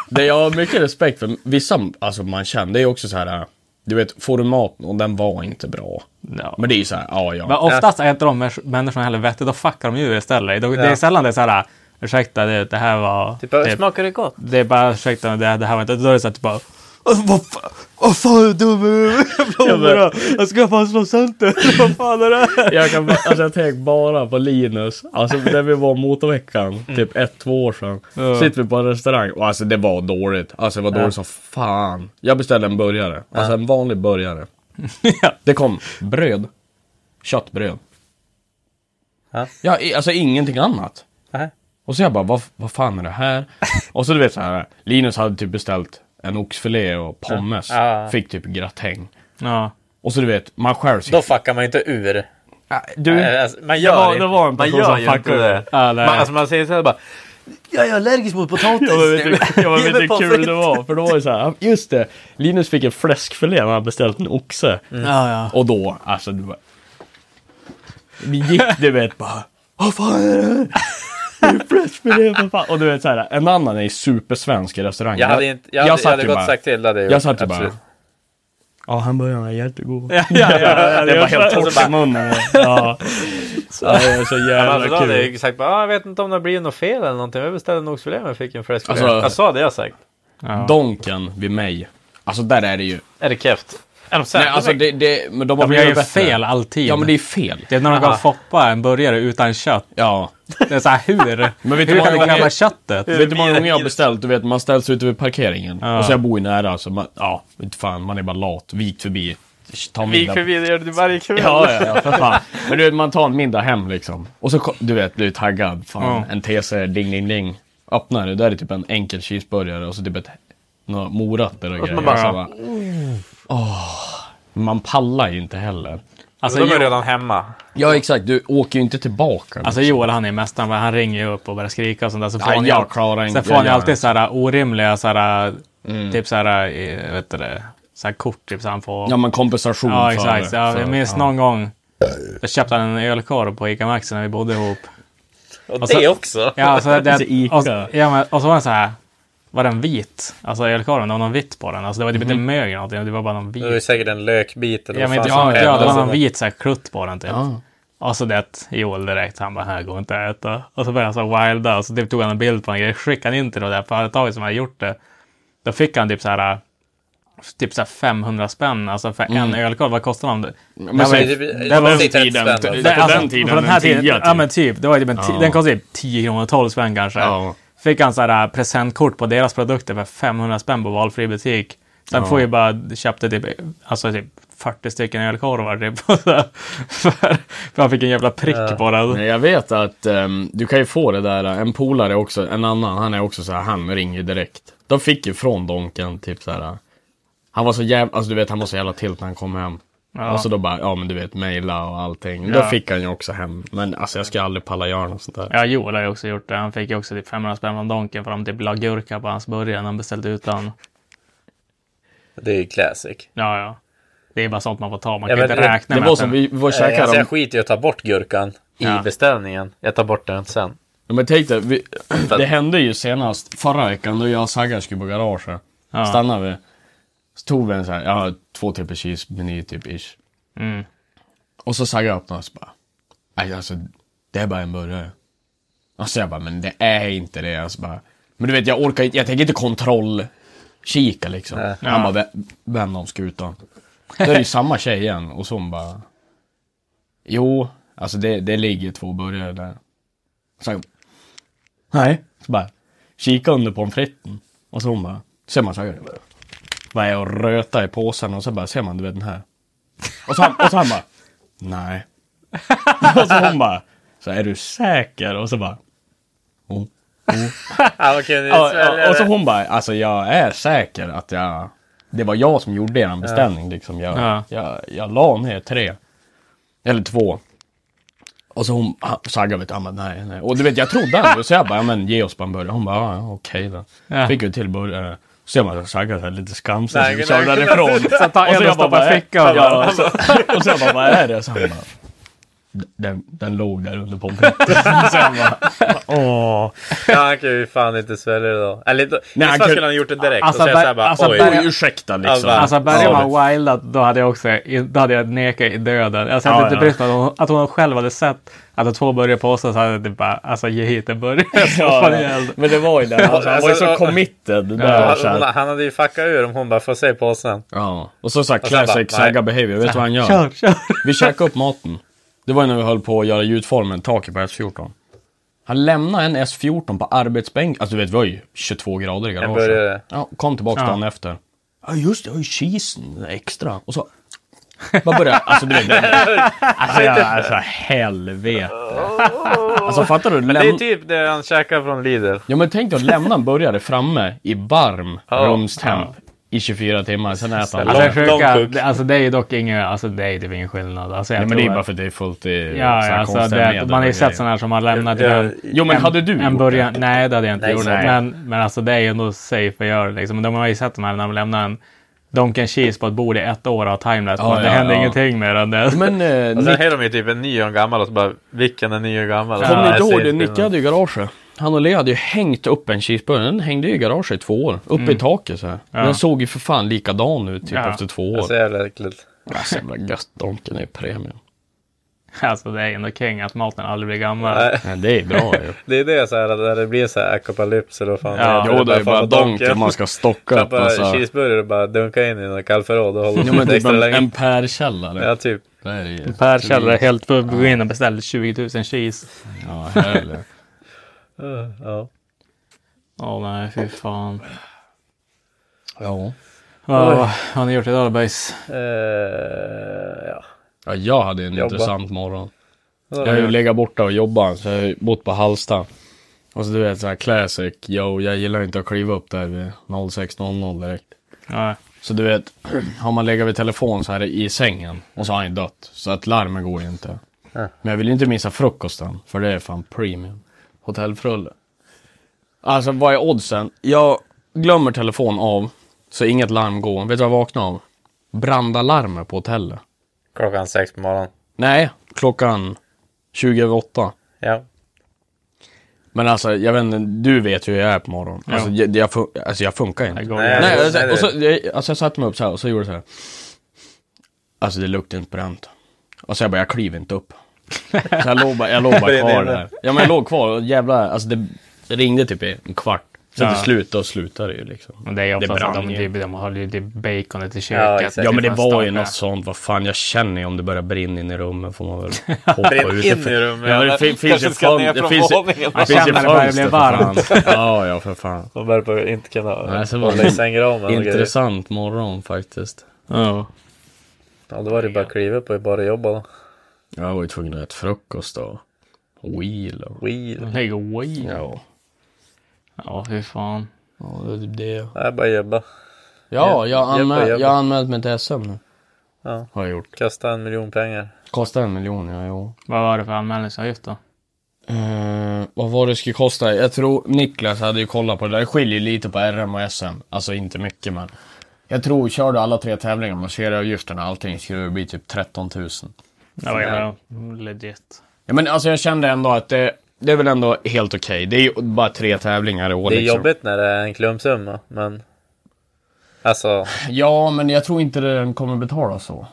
E: Det jag har mycket respekt för, vissa alltså man känner, det är ju också så här. Du vet, får du maten och den var inte bra.
D: Ja.
E: Men det är ju så här, ja
D: Men
E: ja.
D: oftast äter de människ- människorna helvetet, då fuckar de djur istället. De, Det är sällan det är så här, ursäkta det, det här var...
C: Typ, äh,
D: det-
C: smakar det gott?
D: Det är bara, ursäkta, det, det här var inte... Då är det så här, typ bara... "Åh, Vad fan, vad fan är du dum i huvudet? Blommorna! Jag ska fan slå sönder! Vad fan är det här?
E: Jag, kan, alltså jag tänker bara på Linus, alltså när vi var motorveckan,
C: Mm.
E: typ ett, två år sedan. Sitter vi på en restaurang och alltså det var dåligt. Alltså det var dåligt som fan. Jag beställde en burgare, alltså en vanlig burgare.
D: Ja.
E: Det kom bröd, köttbröd.
C: Ja.
E: Ja, i- alltså ingenting annat.
C: Nej.
E: Och så jag bara, vad, vad fan är det här? Och så du vet så här, Linus hade typ beställt en oxfilé och pommes.
C: Ja.
E: Fick typ gratäng.
D: Ja.
E: Och så du vet, man själv sitter...
C: Då fuckar man ju inte ur.
E: Du, Eh,
C: Äh, alltså, Man gör
E: Mm. det
C: inte.
E: var en
F: Man
E: person
F: gör
E: som
F: ju inte
E: fuckade
F: det.
D: Ja, nej.
F: Man, alltså man säger såhär bara. Jag är allergisk mot potatis.
E: Jag vet inte, jag
F: Ge
E: vet
F: mig
E: inte hur
F: pommes
E: kul det var, för då var det så här, just det, Linus fick en fläskfilé när han beställt en oxe.
D: Ja, ja.
E: Och då, alltså du bara... Vi gick du vet bara... Vad fan är det här? Det är fläskfilé för fan. Och du vet såhär, en annan är supersvensk i restaurangen.
C: Jag hade, inte, jag, hade- jag
E: satt
C: hade
E: ju
C: gott
E: bara-
C: sagt till. det Hade
E: Jag satt ju
C: gjort,
E: bara...
C: absolut.
E: Ja, hamburgarna är jättegod.
D: Ja, ja, ja,
E: Det var helt
C: Och så
E: torrt i munnen. Ja. Så, ja, det är så
C: Men
E: jävla
C: alltså, då
E: kul.
C: hade jag ju sagt bara, ah, jag vet inte om det har blivit något fel eller någonting. Jag beställde en oxfilé men jag fick en fläskfilé.
E: Alltså-
C: jag sa det jag sagt.
E: Donken vid mig. Alltså där är det ju...
C: Är det keft? Är de
E: Nej,
C: sämre?
E: alltså det, det, men de har
D: De gör ju
E: blivit bättre.
D: fel alltid.
E: Ja, men det är fel.
D: Det är när de gav Foppa en burgare utan kött.
E: Ja.
D: Det är så här, hur?
E: Men vet du
D: hur
E: vad
D: kan
E: jag-
D: de glömma köttet?
E: Vet du hur många gånger jag har beställt? Du vet, man ställs ute vid parkeringen.
D: Ja.
E: Och så jag bor ju nära, så man, ja, inte fan, man är bara lat. Vik förbi. Ta middag.
C: Gick förbi, det gör du varje kväll.
E: Ja, ja, ja, för fan. Men du vet, man tar en middag hem liksom. Och så, ko- du vet, du är taggad. Fan,
D: Ja.
E: en TC, ding, ding, ding. Öppnar det, där är det typ en enkel cheeseburgare och så typ ett, några morötter och grejer. Man,
C: bara-
E: så bara, åh. man pallar ju inte heller.
D: Alltså,
C: de är
D: Joel,
C: redan hemma.
E: Ja, exakt. Du åker ju inte tillbaka.
D: alltså Joel, han är mästaren. va? Han ringer ju upp och börjar skrika och sånt där. Så får
E: Nej,
D: han ju
E: jag
D: allt-
E: klarar inte-
D: Sen får
E: jag
D: han ju
E: gör
D: alltid
E: inte.
D: så här orimliga, så här,
C: Mm.
D: typ så här, eh, vet du det, så här kort typ så han får.
E: ja, men kompensation
D: Ja,
E: för
D: exakt.
E: det.
D: Ja,
E: Så,
D: jag minns
E: ja.
D: någon gång. Då köpte han en ölkorv på Ica Maxi när vi bodde ihop.
C: Och,
D: så-
C: det också.
D: Ja, så det,
E: Så Ica.
D: och, ja, men, och så var den så här. Var den vit? Alltså ölkorven, det var någon vitt på den. Alltså det var typ
E: Mhm.
D: inte mögel eller någonting. Det var bara någon
C: Det var ju
D: vit.
C: säkert en lökbit eller
D: Ja,
C: vad
D: men inte
C: fan
D: fan
C: som
D: vet jag. Det var
C: helst. Alltså,
D: någon
E: alltså,
D: vit så här klutt på den typ.
E: Ja.
D: Och så det Joel direkt. Han bara, här går inte att äta. Och så började han så här wilda. Och så typ tog han en bild på en grej. Skickade han in till det där företaget som hade gjort det. Då fick han typ så här. Typ så här 500 spänn alltså för en
E: Mm.
D: ölkorv. Vad kostar de?
E: Men
D: Det var-
E: så-
C: Det- det- typ
D: det var
C: det- det-
E: tiden.
C: det- det-
E: Det-
C: det-
E: på den tiden,
D: på den här
E: en
D: tiden,
E: tia typ.
D: Ja men typ. Det var typ en ti-
E: Ja.
D: Den kostade typ 10 kronor, 12 spänn kanske.
E: Ja.
D: Fick han så här äh, presentkort på deras produkter för 500 spänn på valfri butik. Sen får ju bara, köpte typ, alltså typ 40 stycken ölkorvar typ. Och så här, för, för han fick en jävla prick på den.
E: Men jag vet att ehm, du kan ju få det där, en polare också, en annan, han är också så här, han ringer ju direkt. De fick ju från Donken typ så här. Han var så jävla, alltså du vet han var så jävla tilt när han kom hem.
D: Ja.
E: Och så då bara, ja men du vet, mejla och allting. Då
D: Ja.
E: fick han ju också hem. Men alltså jag ska aldrig palla göra något sånt där.
D: Ja, Joel har ju också gjort det. Han fick ju också typ 500 spänn från Donken för de typ la gurka på hans burgare när han beställde ut den.
C: Det är ju classic.
D: Ja, ja. Det är bara sånt man får ta. Man
C: Ja,
D: kan
C: men
D: inte
C: det-
D: räkna
E: det
D: med
E: var
D: att
E: som,
D: den-
E: vi var
C: Eh,
E: käkade
C: alltså,
E: dem.
C: jag skiter i att ta bort gurkan
D: Ja.
C: i beställningen. Jag tar bort den sen.
E: Ja, Men tänk dig, vi, det hände ju senast förra veckan då jag och Saggar skulle på garaget.
D: Ja.
E: Stannade vi. Så tog vi en så här, ja, två typer cheese-meny typ ish.
D: Mm.
E: Och så Saggar öppnade och så bara, nej alltså det är bara en burgare. Och så jag bara, men det är inte det. Alltså bara, men du vet jag orkar inte, jag tänker inte kontrollkika liksom. Han bara, "Vä- vänd om skutan. Då är det ju samma tjej igen och så hon bara, jo, alltså det, det ligger två burgare där. Så jag, nej. Så bara, kika under pommes fritesen. Och så hon bara, ser man så här. Vad är och röta i påsen och så bara ser man du vet den här. Och så han, och så han bara, nej. Och så hon bara, så är du säker? Och så bara, oh.
C: Ah, okay, det är
E: Ja, ja,
C: svälja
E: och så
C: det.
E: hon bara, alltså jag är säker att jag det var jag som gjorde er beställning liksom. Jag,
D: Ja.
E: jag, jag la ner tre. Eller två. Och så hon, ah, ha- Sagga vet, han bara, nej, nej. Och du vet, jag trodde ändå, så jag bara, ja men ge oss bara en burgare. Hon bara, ah, ja, ja, okej då.
D: Ja.
E: Fick ju till burgare. Så ser man Sagga så här lite skamsen,
C: Nej,
E: så
C: nej.
E: kör därifrån.
D: Så ta
E: Och så
D: en och
E: jag bara,
D: stoppa
E: bara, alltså.
D: i fickan.
E: Ja, och, så, och så jag bara, vad är det? Så han bara, den, den låg där under pommes fritesen. Så jag bara, åh.
C: Ja, han kan ju fan inte svälja det då. Eller då, Nej,
E: han
C: han
E: kunde-
C: skulle han gjort det direkt.
D: Alltså,
C: och säga
D: Ber-
C: såhär bara
D: alltså,
C: oj.
D: Berg-
E: Ursäkta liksom.
C: Ja,
D: Alltså
E: Ja,
D: började
E: men-
D: man wildat då hade jag också då hade jag nekat i döden. Alltså, jag hade
E: Ja,
D: inte
E: ja.
D: brytt mig att hon, att hon själv hade sett att det två burgare på oss så hade jag typ bara alltså ge hit en burgare. Så fan i helvete.
E: Men det var ju det. Alltså, han var ju så
C: Alltså,
E: committed. Där,
C: Ja,
E: så
C: hon,
E: här.
C: han hade ju fuckat ur om hon bara får se påsen.
E: Ja. Och så såhär
C: Och sen bara,
E: classic
C: nej.
E: Sagga behavior. Vet du vad han gör?
D: Kör, kör.
E: Vi käkade upp maten. Det var ju när vi höll på att göra ljudformen, taket på S14. Han lämnade en S14 på arbetsbänken. Alltså du vet, det var ju 22 grader i garaget.
C: burgare.
E: Ja, kom tillbaka
D: Ja.
E: dagen efter. Ja just det, jag har ju cheesen extra. Och så... Bara börja, alltså du vet. det- Alltså, jag, alltså helvete. Alltså fattar du?
C: Det är
E: Läm...
C: typ det han käkar från Lidl.
E: Ja men tänk dig att lämna en burgare framme i varm
C: Ja.
E: rumstemp i 24 timmar, sen äta han
D: Alltså,
E: långt.
D: jag försöker-
C: lång kuk.
D: det- alltså det är ju dock ingen, alltså det är typ ingen skillnad. Alltså, jag
E: Nej men det är
D: tror
E: bara
D: att-
E: för att det är fullt i
D: Ja, ja alltså det, man har ju sett
E: sådana
D: sådana här som har lämnat
C: Ja, ja.
D: en,
E: Jo, men
D: en,
E: hade du
D: en
E: gjort
D: början. Nej, det hade jag inte
C: Nej,
D: gjort.
C: nej.
D: Men, men alltså det är ju ändå safe att göra liksom. Men de har ju sett de här när de lämnar en Donken Cheese på ett bord i ett år av timelapse.
E: Ja,
D: men det
E: ja,
D: händer
E: ja.
D: ingenting med den. där.
E: Men eh,
C: Och
E: Nick-
C: sen är de ju typ en nio år gammal och så bara, vilken är nio år gammal?
E: Kommer
C: Ja,
E: ni
C: jag
E: inte
C: ser
E: ihåg det? Nicke
C: skillnad.
E: hade ju garaget. Han och Lea hade ju hängt upp en cheeseburgare. Den hängde ju i garaget i två år. Uppe i taket så här. Den såg ju för fan likadan ut typ
D: Mm. Ja.
E: efter två
C: Det är
E: år.
C: Så jävla äckligt.
E: Alltså jävla gött. Donken är ju premium.
D: Alltså det är ändå king att maten aldrig blir gammal.
C: Nej,
E: Nej, det är bra ju.
C: Det är det så här, att när det blir så här akapalypser och fan.
D: Ja,
E: Jo, det är bara
C: fan
E: donken man ska stocka upp.
C: Klappa
E: Alltså.
C: cheeseburgare och bara dunka in i något kallförråd och hålla
E: Jo
C: det
E: men typ
C: extra
E: en,
C: länge.
E: en per källare.
C: Ja, typ.
E: Det är ju...
D: Per Kjellre helt på gå in och beställde 20 000 cheese.
E: Ja, härligt.
C: Ja.
D: Åh nej, fy fan.
E: ja.
D: Vad har ni gjort idag då, boys?
C: Eh, ja.
E: ja, jag hade en
C: Jobba.
E: intressant morgon. Jag har ju legat borta och jobbat, så jag har ju bott på Hallsta. Och så du vet såhär classic, yo, jag gillar inte att kliva upp där vid 06.00 direkt.
D: Ja.
E: Så du vet, har man legat vid telefon så här i sängen och så har han ju dött. Så att larmen går ju inte. Men jag vill ju inte missa frukosten, för det är fan premium. Hotellfrulle. Alltså vad är oddsen? Jag glömmer telefon av, så inget larm går. Vet du vad jag vaknar av? Brandalarmer på hotellet.
C: Klockan sex på morgonen.
E: Nej, klockan 20 över åtta.
C: Ja.
E: Men alltså, jag vet inte, du vet ju hur jag är på morgonen. Alltså,
D: Ja.
E: jag, jag, fun- alltså jag funkar inte.
D: Jag går
C: Nej.
E: Nej,
C: det-
E: alltså,
C: nej, det-
E: och så, jag, alltså jag satte mig upp så här och så gjorde jag så här. Alltså det luktade inte bränt. Och så jag bara, jag kliver inte upp. Så jag låg bara, jag låg bara kvar där. Ja men jag låg kvar och jävlar, alltså det ringde typ i en kvart. Så
D: Ja.
E: till slut, då slutade det ju liksom.
D: Men det är ju
E: Det
D: oftast att
E: brann
D: de,
E: ju.
D: typ, de har ju typ baconet i
C: Ja,
D: köket. Typ
C: exakt.
E: Ja men det var ju
D: Staka.
E: något sånt, vad fan jag känner ju om det börjar brinna in i rummen får man väl hoppa
C: Brinn
E: ut.
C: in i rummet.
E: Ja, det fin- finns ju
C: Kanske ska ner
E: fönster. Det
C: från
E: finns ju-
C: våningen.
E: det finns ju
D: känner det börjar bli
E: fönster för fan. Ja ja för fan.
C: De börjar på inte kunna
E: Nej, så var
C: hålla i
E: det
C: sängramen och grejer.
E: Intressant morgon faktiskt.
D: Ja.
C: Ja, då var det bara att kliva upp och bara jobba då.
E: Jag var ju tvungen att äta frukost och wheel och...
C: Wheel.
D: Lägg away.
E: Ja.
D: Ja, hur fan.
E: Ja, det, det.
C: Nej, bara jobba.
E: ja jag har
C: Jobba,
E: anmält,
C: jobba.
E: jag har anmält mig till SM nu.
C: Ja.
E: Har jag gjort.
C: Kasta en miljon pengar.
E: Kostar en miljon, ja jo.
D: Vad var det för anmälningsavgift då?
E: Eh, vad var det skulle kosta? Jag tror Niklas hade ju kollat på det där. Det skiljer ju lite på RM och SM. Alltså inte mycket men. Jag tror, kör du alla tre tävlingar med serieavgifterna och allting skulle det bli typ 13 000.
D: Det var jävla legit.
E: Ja men alltså jag kände ändå att det, det är väl ändå helt okej. Det är ju bara tre tävlingar i år
C: Det är
E: liksom.
C: jobbigt när det är en klumpsumma, men... Alltså,
E: Ja men jag tror inte den kommer betalas så.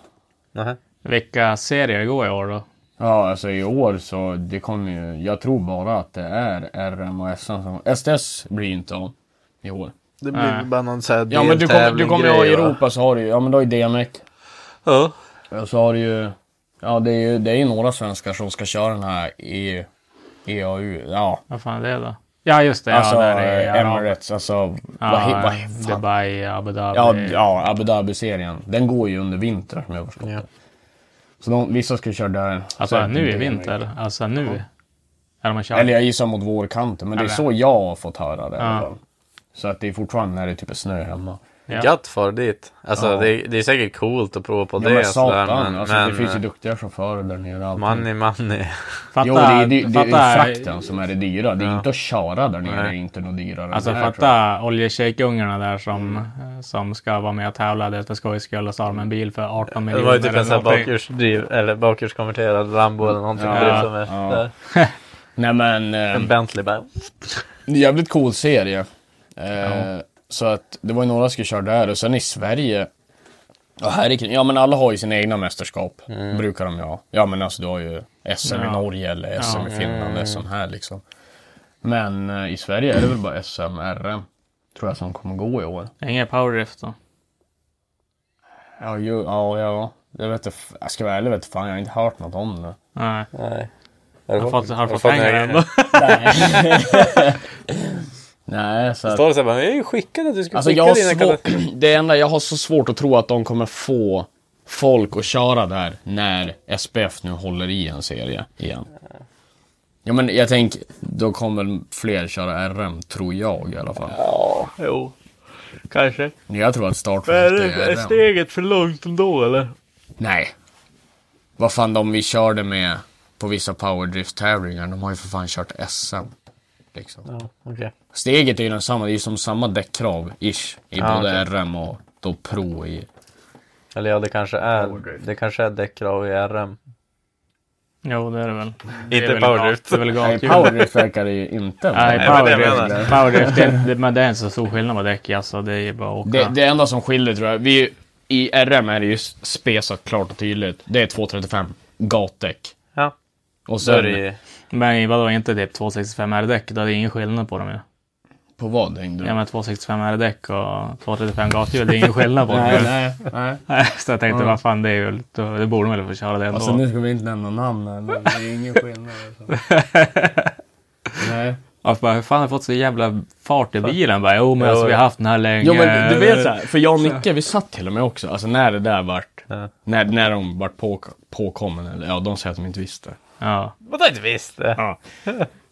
C: nej.
D: Vilka serier går i år då?
E: Ja, alltså i år så det kommer ju, jag tror bara att det är RM och SM som, STS blir ju inte av i år.
F: Det blir väl bara någon sån här
E: Ja men du kommer, du kommer ju ha i
F: deltävling-grej, va?
E: Europa så har du ju, ja men då är DMEC.
F: Ja.
E: Och så har du ju, ja det är ju, det är ju några svenskar som ska köra den här E, i EAU, ja.
D: Vad fan är det då? Ja, just det.
E: Alltså
D: ja, där är ja,
E: Emirates, alltså
D: Ja,
E: vad, he- vad he- fan.
D: Dubai, Abu Dhabi.
E: Ja, ja Abu Dhabi-serien. Den går ju under vinter som jag har förstått det. Så de, vissa ska ju köra där.
D: alltså
E: Sen
D: nu i
E: DMEC.
D: vinter. Alltså nu. Är de kört?
E: Eller jag gissar mot vårkanten, men det är
D: Eller-
E: så jag har fått höra det. i alla
D: Ja.
E: fall. Så att det är fortfarande när det typ är snö hemma.
D: Ja.
C: Gött för dit. Alltså
E: Ja.
C: det, det är säkert coolt att prova på
E: Ja,
C: det.
E: men
C: och sådär,
E: satan, alltså, det
C: men, eh,
E: finns ju duktiga chaufförer där nere. och allting.
C: Money, money.
D: Fatta,
E: Jo, det är, det, det är ju
D: fatta-
E: frakten som är det dyra. Det är inte att köra där nere, det är inte något dyrare. än
D: Alltså
E: det här, tror jag.
D: fatta oljeshejkungarna där som, som ska vara med och tävla det är för skojs skull och så har de en bil för 18
C: Mm. Det
D: miljoner.
C: var ju typ en
D: eller
C: sån här
D: någonting.
C: bakhjulsdriv, eller bakhjulskonverterad Lambo eller någonting.
E: Ja,
C: Ja, som är
E: ja.
C: där.
E: Nej men, eh,
C: En Bentley bara.
E: det är en jävligt cool serie. Eh, Så att det var ju några som skulle köra där och sen i Sverige. Ja, här i, ja men alla har ju sina egna mästerskap.
C: Mm.
E: Brukar de ju ha. Ja men alltså du har ju SM i
D: Ja.
E: Norge eller SM i Finland,
C: Mm.
E: SM här liksom. Men eh, i Sverige är det väl bara SM, RM. Tror jag som kommer gå i år.
D: Ingen powerdrift då.
E: Ja, ju, ja, ja. Jag vet inte, jag ska vara ärlig vet fan, jag har inte hört något om det.
D: Nej.
C: Nej.
D: Har du fått, har du fått
C: en
D: pengar
C: egen-
D: ändå?
E: Nej, så
C: Det
E: att,
C: Står det så här bara, jag är ju skickad att du skulle
E: alltså
C: skicka
E: jag har
C: dina
E: svår,
C: kalas-
E: det enda, jag har så svårt att tro att de kommer få folk att köra där när SPF nu håller i en serie igen. Ja men jag tänker, då kommer väl fler köra RM, tror jag i alla fall.
C: Ja, jo. Kanske.
E: Jag tror att startfältet är RM.
C: steget för långt ändå eller?
E: Nej. Vad fan de vi körde med på vissa powerdrift-tävlingar, de har ju för fan kört SM. Liksom.
C: Ja, okej.
E: Steget är ju densamma, det är ju som samma däckkrav ish. I
C: Ja,
E: både RM och då Pro i.
C: Eller ja, det kanske är, det kanske är däckkrav i RM.
D: Jo, det är det väl.
C: Inte powerdrift.
D: Det är väl
E: Nej,
D: gatukul.
E: powerdrift verkar det ju inte vara.
D: Nej,
C: men det är det jag
D: powerdrift. powerdrift det, det, men det är inte så stor skillnad på däck alltså. Det är ju bara att åka.
E: det, det enda som skiljer tror jag, vi, i RM är det ju spesat klart och tydligt. Det är 235 gatdäck.
C: Ja.
E: Och
C: Så är
E: sen,
C: det ju.
D: Men vadå, inte typ 265 R-däck? Då är det ingen skillnad på dem ju.
E: på vad hängde du?
D: Ja, men 265 R-däck och 235 gathjul, det är ingen skillnad på dem
E: Nej,
D: ju.
E: nej, nej.
D: Så jag tänkte, vad fan, det, är ju, då- det borde de väl få köra det ändå.
E: Alltså nu ska vi inte nämna namn här, men det är ju ingen skillnad. Alltså. nej.
D: Jag bara, hur fan har jag fått så jävla fart i bilen? Bara, jo men
C: Jo,
D: alltså, vi
C: ja.
D: har haft den här länge.
E: Jo men du vet såhär, för jag och Nicke vi satt till och med också, alltså när det där vart,
C: Ja.
E: när, när de vart på, påkommen, eller ja de säger att de inte visste.
D: Ja.
C: Vadå inte visst? eh.
E: Ja.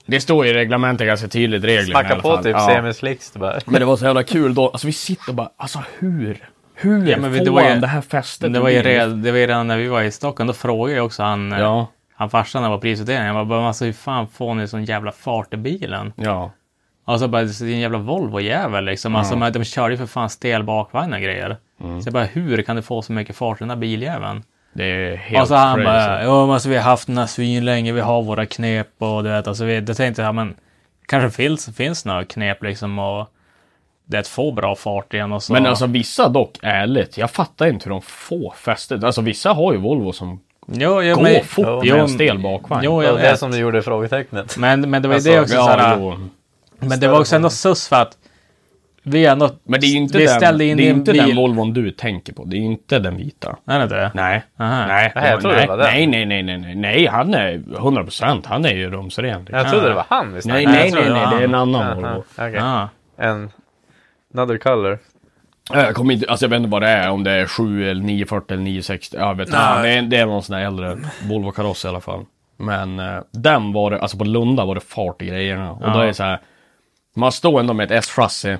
E: Det står ju i reglementet ganska tydligt, reglerna i
C: Smacka
E: alla
C: på
E: fall.
C: typ
E: ja.
C: semislicks du bara.
E: Men det var så jävla kul då, alltså vi sitter och bara, alltså hur? Hur
D: Ja, men vi-
E: får
D: det var ju-
E: han det här fästet?
D: Det var, ju
E: i bilen?
D: redan, det var ju redan när vi var i Stockholm, då frågade jag också han, eh,
E: Ja,
D: han farsan när det var prisutdelning. Jag bara, bara, alltså, hur fan får ni sån jävla fart i bilen?
E: ja.
D: Alltså bara, det är en jävla Volvo-jävel liksom. Alltså, men De körde ju för fan stel bakvagn och grejer.
E: Mm.
D: Så jag bara, hur kan du få så mycket fart i den där biljäveln?
E: Det är helt
D: Och så han
E: crazy.
D: bara, ja men alltså, vi har haft den här svin länge, vi har våra knep och du vet, alltså vi, då tänkte jag, men kanske finns, finns några knep liksom och det är att få bra fart igen och så.
E: Men alltså vissa dock, ärligt, jag fattar inte hur de får fästet. Alltså vissa har ju Volvo som
D: jo, jo,
E: går
D: men,
E: fort
D: jo,
E: med
D: men-
E: en stel bakvagn.
D: Jo,
C: Det
D: jag
C: var det
D: vet.
C: som du gjorde i frågetecknet.
D: Men, men det var ju
C: Alltså,
D: det också
E: Ja,
D: såhär,
E: jo.
D: men det var också ändå sus för att vi ändå,
E: Men det är ju inte,
D: vi
E: den,
D: ställde in
E: det är
D: i en
E: inte
D: bil.
E: den Volvon du tänker på. Det är inte den vita.
D: Nej, det är inte det.
E: Nej.
D: Aha.
E: Nej,
C: Nej, jag trodde
E: nej,
C: det var den.
E: nej, nej, nej, nej, nej, nej, han är 100 procent. Han är ju rumsren. liksom.
C: Jag trodde det var han vi
E: Nej,
C: snackade
E: nej,
D: jag tror
E: nej,
D: det var
E: nej, det är en annan
C: Aha,
E: Volvo.
C: okej.
D: Ah.
C: En... Another color.
E: Ja, Jag kommer inte, alltså jag vet inte vad det är, om det är 7 eller 940 eller 960. Jag vet inte. fan, Det, är, det är någon sån där äldre Volvo-kaross i alla fall. Men eh, den var det, alltså på Lunda var det fart i grejerna. Och då är det så här, man står ändå med ett S-chassi.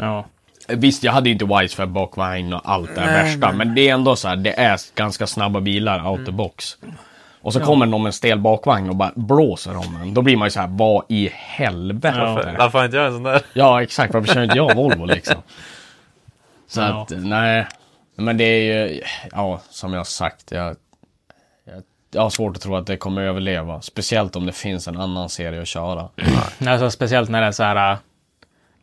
D: Ja.
E: Visst, jag hade inte wise för bakvagn och allt det här värsta, men det är ändå så här, det är ganska snabba bilar out the box. Och så kommer någon med en stel bakvagn och bara blåser om en. Då blir man ju så här, vad i helvete? Ja,
C: Varför har inte jag en sån där?
E: exakt, varför kör inte jag Volvo liksom? Så
D: Ja.
E: att, nej. Men det är ju, ja, som jag har sagt, jag, jag, jag har svårt att tro att det kommer överleva. Speciellt om det finns en annan serie att köra.
D: Alltså, speciellt när det är så här. äh,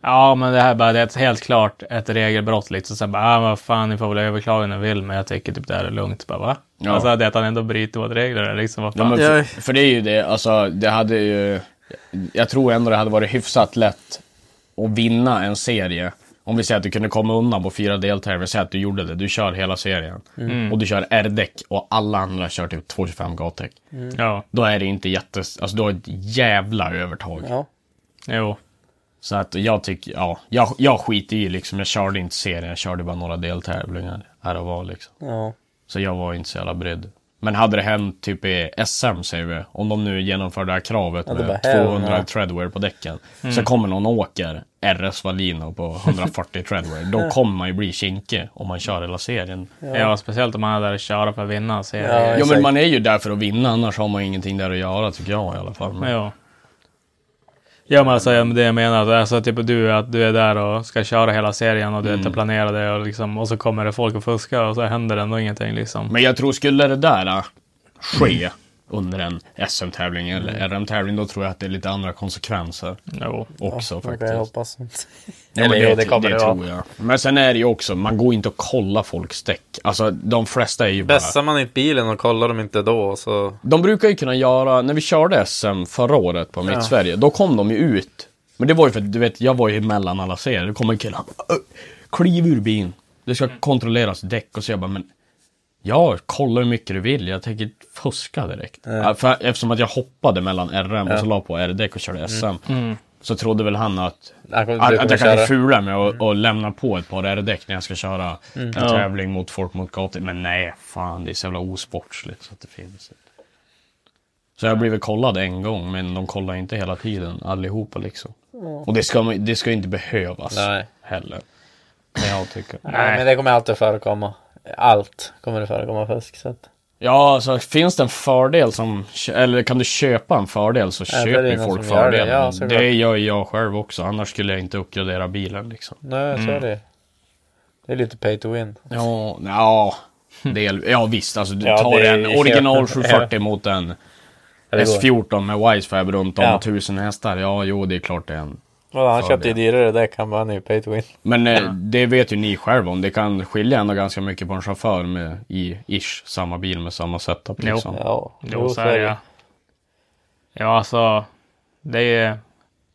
D: Ja, men det här bara, det är ett, helt klart ett regelbrott. Liksom. Sen bara, ah, vad fan, ni får väl överklaga när ni vill, men jag tycker typ det här är lugnt. Bara, va?
E: Ja.
D: Alltså det att han ändå bryter mot reglerna. Liksom, vad
E: Ja,
D: fan?
E: men för, för det är ju det, alltså det hade ju... Jag tror ändå det hade varit hyfsat lätt att vinna en serie. Om vi säger att du kunde komma undan på fyra deltävlingar, säg att du gjorde det, du kör hela serien. Och du kör R-däck och alla andra kör typ 225 gatdäck.
D: ja,
E: Då är det inte jätte... Alltså du har ett jävla övertag.
D: jo.
E: Så att jag tycker, ja, jag, jag skiter i liksom, jag körde inte serien, jag körde bara några deltävlingar här och var liksom.
C: Ja.
E: Så jag var inte så jävla brydd. Men hade det hänt typ i SM säger vi, om de nu genomför det här kravet
C: det
E: med
C: bara, hell
E: 200
C: no.
E: treadwear på däcken. Så kommer någon och åker RS Valino på 140 treadwear. Då kommer man ju bli kinkig om man kör hela serien.
D: Ja. speciellt om man är där och kör för att vinna. Så
C: Ja,
D: ja.
E: Ja
C: exakt.
E: men man är ju där för att vinna, annars har man ju ingenting där att göra tycker jag i alla fall. Men,
D: Ja. ja, men alltså det jag menar, alltså typ du, att du är där och ska köra hela serien och du
E: Mm.
D: inte planerar det och, liksom, och så kommer det folk och fuskar och så händer det ändå ingenting liksom.
E: men jag tror skulle det där äh, ske under en SM-tävling eller RM-tävling, då tror jag att det är lite andra konsekvenser
D: Jo.
E: också
C: Det jag
E: faktiskt.
C: hoppas.
E: Ja, men
C: Eller jo, det kommer det vara.
E: tror jag. Men sen är det ju också, man går inte och kollar folks däck. Alltså de flesta är ju bara...
F: Bästar man inte bilen och kollar dem inte då så...
E: De brukar ju kunna göra, när vi körde SM förra året på Mitt Sverige, då kom de ju ut. Men det var ju för att, du vet, jag var ju mellan alla serier. Då kom en kille, han bara, "Ö, kliv ur bilen. Det ska kontrolleras däck och så jag bara, men Ja, kolla hur mycket du vill. Jag tänker inte fuska direkt. Ja, För, eftersom att jag hoppade mellan RM och så la på R-däck och körde SM. Så trodde väl han att,
C: Han kommer- du
E: att, att
C: kommer
E: jag kan bli
C: köra. Mm.
E: fula med att och lämna på ett par R-däck när jag ska köra en tävling mot folk mot gator. Men nej, fan det är så jävla osportsligt så att det finns inte. Så jag har blivit kollad en gång, men de kollar inte hela tiden allihopa liksom. Och det ska, man- det ska ju inte behövas
C: Nej.
E: heller. Kan jag tycka.
C: Nej, men det kommer alltid förekomma. Allt kommer det förekomma fusk. Så att...
E: Ja, alltså finns det en fördel som, eller kan du köpa en fördel så
C: det är
E: köper ju
C: någon
E: folk
C: som gör det,
E: fördelen.
C: ja,
E: det,
C: såklart.
E: gör ju jag själv också, annars skulle jag inte uppgradera bilen liksom.
C: Nej, så är det Det är lite pay to win.
E: Ja, ja, del, ja visst, alltså du
C: Ja,
E: tar
C: det är
E: en
C: ju
E: original
C: helt-
E: 740 mot en
C: Ja, det går.
E: S14 med Wisefab runt om
C: Ja.
E: och 1000 hästar. Ja, jo, det är klart det är en.
C: Ja, han köpte ju
E: Fördel.
C: dyrare däck. Han bara, han är ju pay to win.
E: Men eh, det vet ju ni själva om, det kan skilja ändå ganska mycket på en chaufför med, i ish samma bil med samma setup
D: Jo.
E: liksom.
C: Ja,
D: Jo, så är det. Ja, alltså. Det är...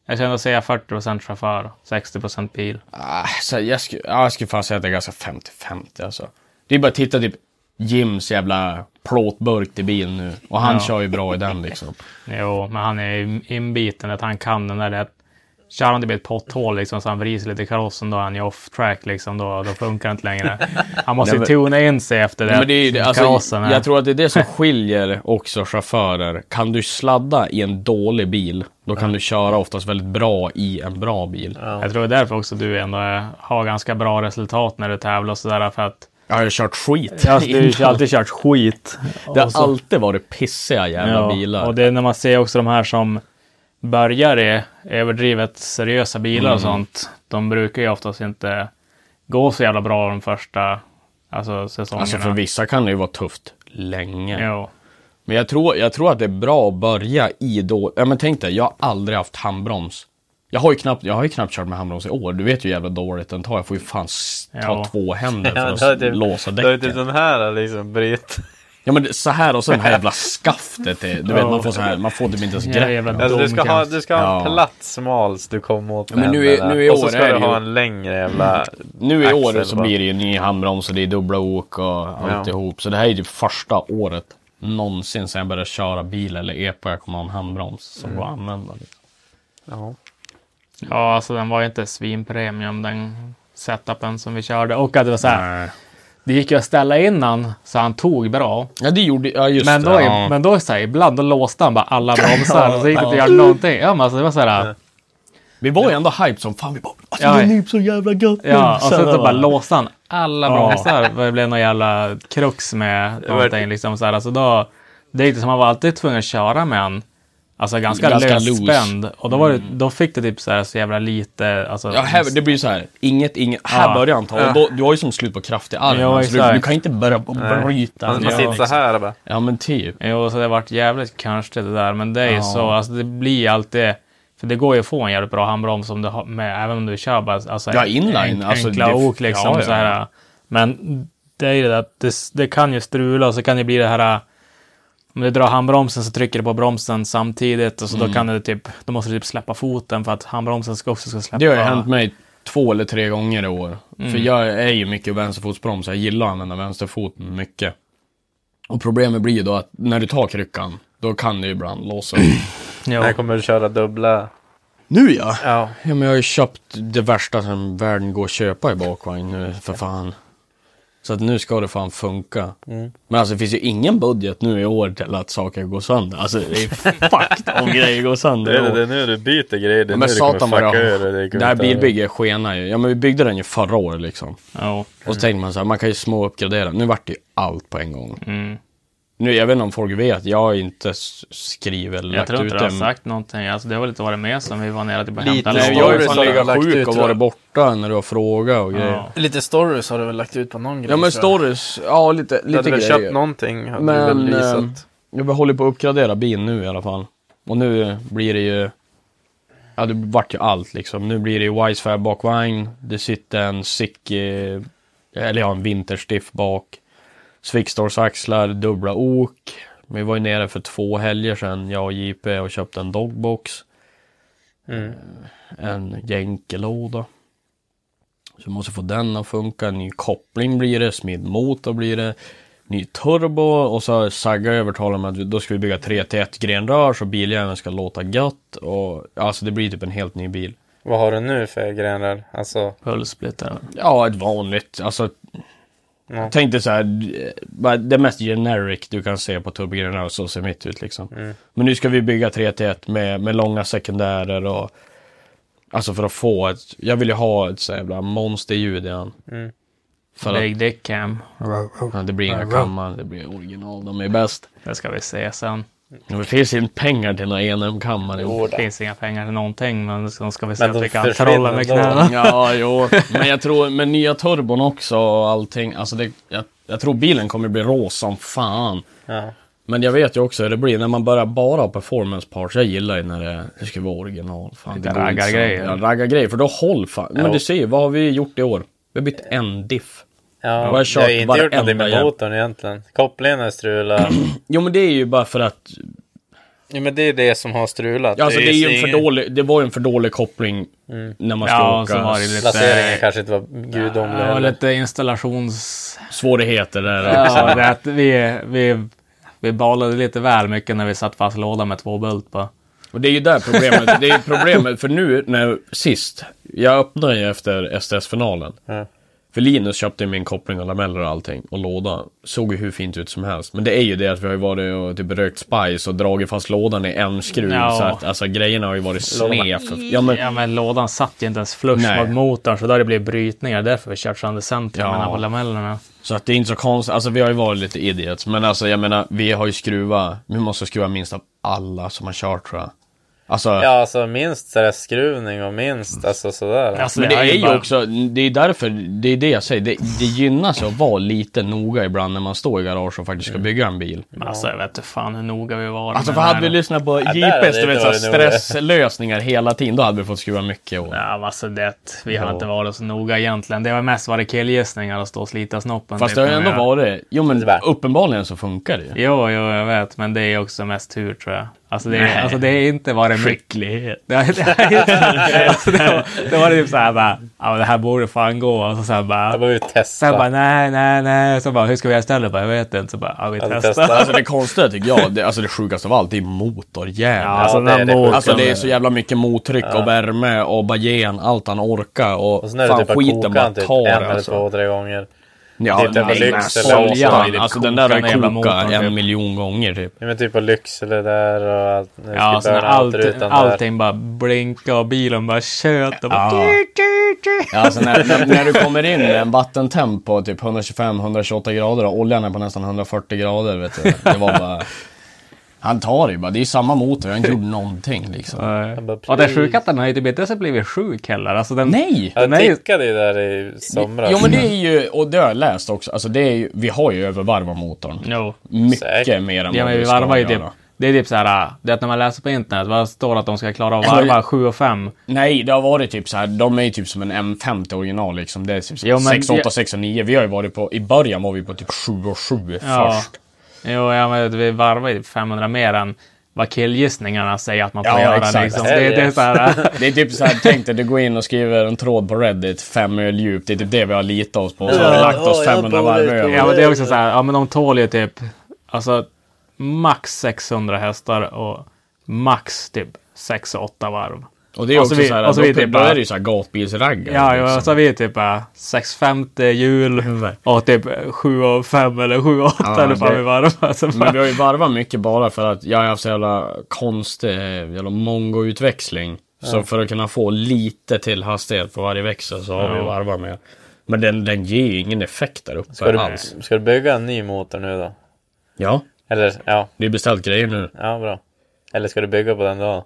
D: Jag känner att säga 40 procent chaufför, 60 procent bil.
E: Ah, så jag, skulle, ja, jag skulle fan säga att det är ganska 50-50 alltså. Det är bara att titta typ Jims jävla plåtburk till bil nu. Och han
D: Ja.
E: kör ju bra i den liksom.
D: Jo, men han är ju inbiten att han kan den där... Att, kör han typ ett potthål liksom, så han vrider sig lite i karossen, då är han ju off track liksom. Då, då funkar det inte längre. Han måste ju
E: Nej,
D: tona in sig efter det.
E: Men det är, ju det, alltså,
D: karossen.
E: jag tror att det är det som skiljer också chaufförer. Kan du sladda i en dålig bil, då kan du köra oftast väldigt bra i en bra bil.
D: jag tror det är därför också du ändå är, har ganska bra resultat när du tävlar och sådär. För att
E: Jag har ju kört skit.
D: Ja, alltså, du har ju alltid kört skit.
E: Det
D: Och
E: har
D: så-
E: alltid varit pissiga jävla bilar.
D: Och det är när man ser också de här som börjar i överdrivet seriösa bilar och
E: Mm.
D: sånt. De brukar ju oftast inte gå så jävla bra de första alltså, säsongerna.
E: Alltså för vissa kan det ju vara tufft länge.
D: Jo.
E: Men jag tror, jag tror att det är bra att börja i då... Ja men tänk dig, jag har aldrig haft handbroms. Jag har ju knappt, jag har ju knappt kört med handbroms i år. Du vet ju hur jävla dåligt den tar. Jag får ju fan s- ta
D: Ja.
E: två händer
F: Ja,
E: för
F: då är
C: typ-
E: att
F: det-
E: låsa
F: Då är det
E: däcket.
F: den här liksom, Britt.
E: Ja men det- så här och så det här jävla skaftet. är- Du vet, man får så här, man får typ inte ens
D: Jävla jävla
E: grepp.
F: Alltså, du ska ha,
D: domkraft.
F: du ska ha en
E: Ja.
F: platt smal så du kommer åt
E: men nu i-
F: händerna.
E: nu i
F: Och så
E: år
F: ska
E: är
F: du
E: det
F: ha
E: ju-
F: en längre jävla...
E: Nu i
F: axel
E: år så
F: bara.
E: blir det ju ny handbroms och det är dubbla ok och alltihop. Så det här är ju typ första året någonsin sedan jag började köra bil eller epa jag kommer ha en handbroms
F: Mm.
E: som går att använda. Liksom.
D: Ja, alltså den var ju inte svinpremium den setupen som vi körde. Och att det var så här, det gick ju att ställa innan så han tog bra.
E: Ja det gjorde, ja just
D: Men
E: det.
D: då, är-
E: ja.
D: men då är det så här, ibland då låste han bara alla bromsar och så gick det inte att göra någonting. Ja, men alltså det var så här.
E: Vi var ju ändå hype som fan. Vi bara, alltså,
D: Ja.
E: det är nyp så jävla gött.
D: Ja, och
E: Så
D: sen
E: det
D: så
E: var-
D: bara låste han alla bromsar. Det blev någon jävla krux med någonting. Liksom, så här. Alltså då, det gick det som man var alltid tvungen att köra med han. Alltså ganska,
E: Ganska loose. Mm.
D: lösspänd. Och då, var det, då fick det typ så, här, så jävla lite. Alltså,
E: Ja, här, det blir så här. Inget, inget. Här
D: Ja.
E: börjar han ta. och Då, du har ju som slut på kraft i armen.
D: Ja,
E: så du,
D: exakt.
E: du kan inte börja b- bryta.
F: Man
C: Alltså,
E: Ja.
F: sitter så här och bara...
E: Ja, men typ.
D: Jo, så det vart jävligt kanske det där. Men det är ju så. Alltså, det blir alltid... För det går ju att få en jävligt bra handbroms om du har, med, även om du kör bara alltså,
E: Ja, inline, alltså,
D: enkla
E: det-
D: ok. Liksom,
E: ja, ja.
D: Så här. Men det är ju det att det, det kan ju strula och så kan det bli det här... Om du drar handbromsen så trycker du på bromsen samtidigt och så
E: Mm.
D: då kan du typ... Då måste du typ släppa foten för att handbromsen ska också ska släppa.
E: Det har ju hänt mig två eller tre gånger i år. För
C: Mm.
E: jag är ju mycket vänsterfotsbroms. Jag gillar att använda vänsterfoten mycket. Och problemet blir ju då att när du tar kryckan, då kan det ju ibland låsa.
D: Jo.
C: Här kommer du köra dubbla.
E: nu ja!
C: Ja.
E: Ja, men jag har ju köpt det värsta som världen går att köpa i bakvagn nu, för fan. Så att nu ska det fan funka.
C: Mm.
E: Men alltså det finns ju ingen budget nu i år till att saker går sönder. Alltså det är fucked om grejer går sönder.
C: Det
E: i
C: är,
E: år.
C: det är nu du byter grejer. Det är
E: men
C: nu du kommer
E: satan vad
C: fucka
E: jag...
C: ur det.
E: Det,
C: kommer
E: det här
C: inte-
E: bilbygget skenar ju. Ja men vi byggde den ju förra året liksom.
D: Ja.
E: Och så tänkte man så här, man kan ju små uppgradera. Nu vart det ju allt på en gång.
D: Mm.
E: Nu, jag vet inte om folk vet, jag har inte s- skrivit eller
D: Jag
E: lagt
D: tror
E: ut
D: inte du har
E: den.
D: sagt någonting. Alltså, det har väl inte varit med som vi var nere till bara
G: Lite
D: hämta
E: Nej,
D: lådor.
E: jag har ju
G: stories
E: fan
G: har jag
E: legat
G: lagt
E: sjuk
G: ut,
E: och
G: tror
E: varit
G: jag.
E: borta när du har frågat och grejer.
D: Ja.
G: Lite stories har du väl lagt ut på någon grej?
E: Ja men
G: tror jag.
E: stories, ja lite,
G: Du hade
E: lite
G: väl
E: grejer.
G: köpt någonting? Hade men,
E: Men,
G: väl
E: ehm,
G: visat?
E: Ja, vi håller på att uppgradera bin nu i alla fall. Och nu blir det ju... Ja, det vart ju allt liksom. Nu blir det ju Wisefair bakvagn. Det sitter en sick... eh, Eller ja, en vinterstiff bak. Svickstors axlar, dubbla ok. Vi var ju nere för två helger sedan, jag och JP, och köpte en dogbox. Eh, En jänkelåda. Så vi måste få den att funka. Ny koppling blir det, smidmotor blir det ny turbo och så har Sagga övertalat mig att då ska vi bygga 3 till 1 grenrör så biljäveln ska låta gött och alltså det blir typ en helt ny bil.
C: Vad har du nu för grenar? Alltså,
D: Pulssplitter.
E: Ja, ett vanligt, alltså. Jag tänkte så här, eh, bara det mest generic du kan se på turbogrenrör så ser mitt ut liksom. Men nu ska vi bygga 3 till 1 med, med långa sekundärer och alltså för att få ett, jag vill ju ha ett så jävla monsterljud i han. För att,
D: Big Dick Cam.
E: ja, det blir inga kammar, det blir original, de är bäst.
D: Det ska vi se sen.
E: Men Det finns inte pengar till några enumkammare.
D: Det finns inga pengar till någonting, men då ska vi se
C: Men
D: att
C: de
D: vi kan
C: försvinner
D: trolla med
C: då.
D: knäna.
E: Ja, jo. Men jag tror med nya turbon också och allting. Alltså det, jag, jag tror bilen kommer bli rå som fan.
C: ja.
E: Men jag vet ju också hur det blir när man börjar bara ha performance parts. Jag gillar ju när det, det ska vara original. Fan,
D: Lite
E: det går inte så-
D: raggargrejer.
E: Ja, raggargrejer. För då håll fan. Men
C: Jo.
E: du ser ju, vad har vi gjort i år? Vi har bytt
D: Eh.
E: en diff.
C: Ja,
E: har
C: jag,
E: kört
C: har inte gjort någonting
E: varenda
C: med
E: jävla-
C: motorn egentligen. Kopplingen är strulad.
E: Jo men det är ju bara för att
C: ja, men det är det som har strulat.
E: Ja, Alltså det, är ju en
C: ingen-
E: för dålig, det var ju en för dålig koppling när man ska
D: Mm. Ja,
E: åka.
D: så var det lite-
C: Placeringen kanske inte var gudomlig.
D: Ja,
C: heller.
D: lite installations...
E: Svårigheter där. Alltså.
D: Ja, det är att vi, vi, vi balade lite väl mycket när vi satt fast lådan med två bult på.
E: Och det är ju där problemet, det är ju problemet för nu när sist, jag öppnade ju efter STS-finalen. För Linus köpte ju min koppling och lameller och allting och låda. Såg ju hur fint ut som helst. Men det är ju det att vi har ju varit och typ rökt spice och dragit fast lådan i en skruv.
D: Ja.
E: Så att alltså grejerna har ju varit sned. för- Ja men,
D: Ja, men lådan satt ju inte ens flush
E: Nej.
D: mot motorn, så då hade det blivit brytningar. Därför vi kört sönder centrum
E: Ja.
D: mellan på lamellerna.
E: så att det är inte så konstigt. Alltså vi har ju varit lite idiots. Men alltså jag menar, vi har ju skruvat, vi måste skruva minst av alla som har kört tror jag. Alltså,
C: Ja, alltså minst stresskruvning och
E: Mm.
C: minst alltså sådär.
D: Alltså,
E: Men det, är ju
D: bara-
E: också, det är därför, det är det jag säger, det, det gynnas ju att vara lite noga ibland när man står i garage och faktiskt ska bygga en bil.
D: Men Alltså, jag vet inte fan hur noga vi var.
E: Alltså
D: med
E: för
D: den
E: hade
D: här.
E: vi lyssnat på
C: där
E: JPS,
C: hade
E: du
C: det
E: vet
C: inte
E: såhär
C: varit noga.
E: stresslösningar hela tiden, då hade vi fått skruva mycket. Och,
D: Ja, alltså det, vi har
E: Ja.
D: inte varit så noga egentligen. Det var mest varit killgissningar och stå och slita snoppen.
E: fast
D: typ,
E: det har ju
D: när
E: ändå
D: vi
E: varit, jo men uppenbarligen så funkar det ju.
D: Jo, jo, jag vet, men det är också mest tur tror jag. Alltså det,
E: Nej.
D: är, alltså, det är inte varit mycket.
E: Skicklighet.
D: Det, alltså, det, var, det var typ såhär bara, ja men det här borde fan gå. Och så sen bara,
C: Jag behöver ju
D: sen bara
C: testa.
D: nej, nej, nej. Så bara, hur ska vi göra istället? Bara, Jag vet inte. Så bara, ja vi
C: Ja, vi
D: testar.
C: testar.
E: Alltså det konstiga tycker jag, det, alltså det sjukaste av allt, det är motorjäveln.
D: Ja, alltså,
C: det är
D: den
C: det sjuka.
D: motorn-
E: Alltså det är så jävla mycket mottryck och värme och bara ge en allt han orkar och,
C: Och sen är det
E: fan
C: typ bara
E: skiten
C: koka
E: bara
C: en typ en
E: tar
C: eller
E: alltså.
C: två, tre gånger.
E: Ja,
C: Titta på
E: nej,
C: Lyxzele
E: men
C: och så
E: Soljan,
D: i det
E: alltså den där har
D: kokande jävla
E: kokat
D: motorn,
E: en
D: typ.
E: miljon gånger typ.
C: Ja, men typ på Lycksele där och allt. när vi
D: Ja,
E: alltså,
C: skulle
D: sen
C: börja
D: allt,
C: rutan där.
D: allting bara blinkade och bilen bara tjöt. Och bara,
E: Ja, alltså när, när, när du kommer in med en vattentemp på typ 125-128 grader och oljan är på nästan 140 grader vet du. Det var bara... Han tar det ju bara, det är ju samma motor, jag har inte gjort någonting liksom.
D: Nej.
C: bara,
D: Och det sjuka att den har typ inte blivit, blivit sjuk heller. Alltså den,
E: Nej!
C: Jag
D: Den är ju-
C: tickade ju där i somras.
E: Jo men det är ju, och det har jag läst också, alltså det är ju, vi har ju övervarvat motorn.
D: Jo.
E: Mycket
C: Säkert.
E: mer än
D: Ja, men vi
E: ska
D: varvar ju typ.
E: göra.
D: Det är typ så här, det är att när man läser på internet, vad står det att de ska klara av att
E: Ja, men-
D: varva 7 och 5?
E: Nej, det har varit typ så här. De är ju typ som en M50 original liksom. Det är typ
D: Jo, men
E: 6, 8,
D: det-
E: 6 och 9. Vi har ju varit på, i början var vi på typ 7 och 7
D: Ja.
E: först.
D: Jo, ja, men vi varvar ju 500 mer än vad killgissningarna säger att man får
E: Ja,
D: göra.
E: exakt.
D: Liksom. Det, det är så här,
E: Det är typ så här, tänk dig, du går in och skriver en tråd på Reddit, fem öl djup. Det är typ det vi har litat oss på. Så har vi lagt oss 500 varv över.
D: ja, men det är också så här, ja men de tål ju typ, alltså max 600 hästar och max typ 6-8 varv.
E: Och det är också
D: vi,
E: så här,
D: och så
E: då,
D: vi typ
E: då
D: bara,
E: är det ju såhär gatbilsraggare.
D: Ja,
E: liksom.
D: ja, så har vi typ äh, 6,50 hjul och typ 7 av 5 eller 7 av 8
E: Ja,
D: eller vad
E: det-
D: vi varvar. Så
E: Men vi
D: bara-
E: har ju varvat mycket bara för att jag har haft så jävla konstig eh, jävla mongo-utväxling. Så för att kunna få lite till hastighet på varje växel så har vi
D: Ja.
E: varvat med. Men den, den ger ju ingen effekt där uppe
C: Ska du,
E: alls.
C: ska du bygga en ny motor nu då?
E: Ja,
C: Eller ja,
E: det är beställt grejer nu.
C: ja bra. Eller ska du bygga på den då?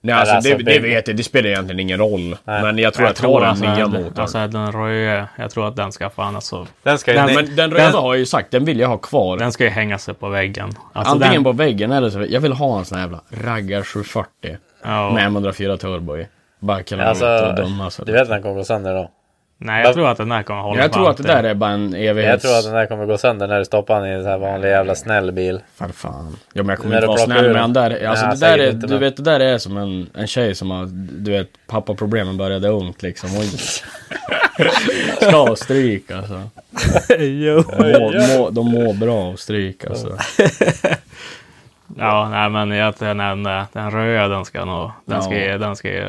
E: Nej, alltså,
C: alltså,
E: det,
C: bygg-
E: det vet jag, det spelar egentligen ingen roll. Men jag tror jag, tar den nya motorn.
D: Alltså den röda, jag tror att den ska fan alltså.
C: Den ska ju...
E: Nej,
C: Nej,
E: men den röda
D: den-
E: har jag ju sagt, den vill jag ha kvar.
D: Den ska ju hänga sig på väggen. Alltså,
E: Antingen
D: den,
E: på väggen eller så, jag vill ha en sån här jävla raggar 740.
D: Ja.
E: Med M104 turbo i. Bara kunna
C: alltså,
E: alltså, döma så.
C: du vet att den kommer gå sönder då?
D: Nej, jag tror att den här kommer hålla
E: Jag
D: för
E: tror att det
D: alltid.
E: där är bara en evighets...
C: eh, Jag tror att den där kommer gå sönder när du stoppar den i en sån här vanlig jävla snäll bil.
E: För fan. Ja men jag kommer
C: När
E: inte
C: du
E: vara
C: plockar
E: snäll
C: ur
E: med
C: den.
E: den där. Alltså
C: Nej,
E: det där
C: säkert
E: är,
C: inte,
E: du
C: men-
E: vet det där är som en, en tjej som har, du vet, pappaproblemen började ungt liksom. Och ska ha stryk alltså. Må, må, de mår bra av stryk alltså.
D: Ja, nej men jag, den, den, den röda den ska nog, den ska, ju- den ska ju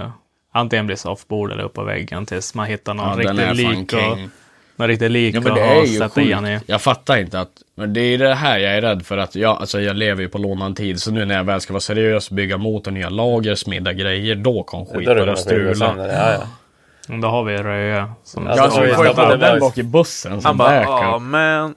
D: antingen bli soffbord eller upp på väggen tills man hittar
E: Ja,
D: någon
E: den är
D: riktigt
E: fan
D: lik och,
E: king.
D: någon riktigt lik
E: Ja men det
D: och,
E: är
D: och
E: ju
D: sätta i den i.
E: sjukt. Jag fattar inte att, men det är det här jag är rädd för att jag, alltså jag lever ju på lånad tid. Så nu när jag väl ska vara seriös, bygga motor, nya lager, smida grejer, då kom
C: Det är
E: skit
C: då det kommer
E: börja
C: gå
E: strula.
C: sönder. Ja, ja.
D: Men Då har vi röda. Som,
C: Ja,
E: Alltså vi får ju
C: Alltså,
E: ta
C: det var
E: den
C: ju-
E: bak i bussen
F: Han
E: som
F: bara,
E: backup.
F: ja men.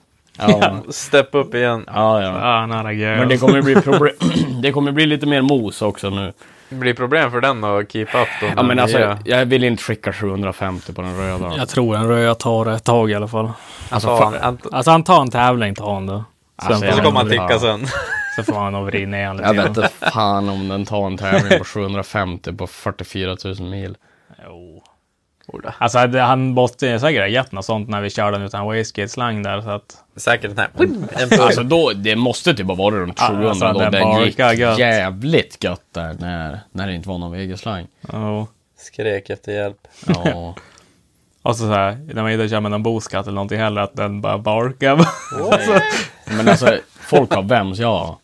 E: Ja.
F: Step upp igen.
E: Ja, ja.
D: ah, nära girl.
E: Men det kommer bli problem. det kommer bli lite mer mos också nu.
F: Det blir problem för den att keep up då.
E: Ja, men alltså,
F: Ja.
E: jag vill inte skicka 750 på den röda.
D: Jag tror en röd tar ett tag i alla fall.
E: Alltså,
F: Fan,
E: fan.
F: Ant-
D: Alltså han tar en tävling, tar han då. Sen får
E: Alltså,
F: Och så
E: jag-
D: han,
F: kommer han ticka
E: Ja.
F: sen.
D: så får han nog vrida ner han lite
E: Jag vet
D: grann.
E: inte fan om den tar en tävling på 750 på 44 000 mil.
D: Jo. Alltså det- han måste ju säkert ha gett något sånt när vi körde den utan wastegate-slang där. Så att,
C: Säkert den här. En
E: Alltså då, det måste typ ha varit runt
D: Ja,
E: 700
D: alltså,
E: då.
D: den
E: Den, gick
D: barkar gött.
E: jävligt gött där när, när det inte var någon vegaslang.
D: ja.
C: Skrek efter hjälp.
E: Ja.
D: Och så, så här, när man inte kör med någon boskatt eller någonting heller, att den bara barkar.
E: men alltså, folk har vems ja.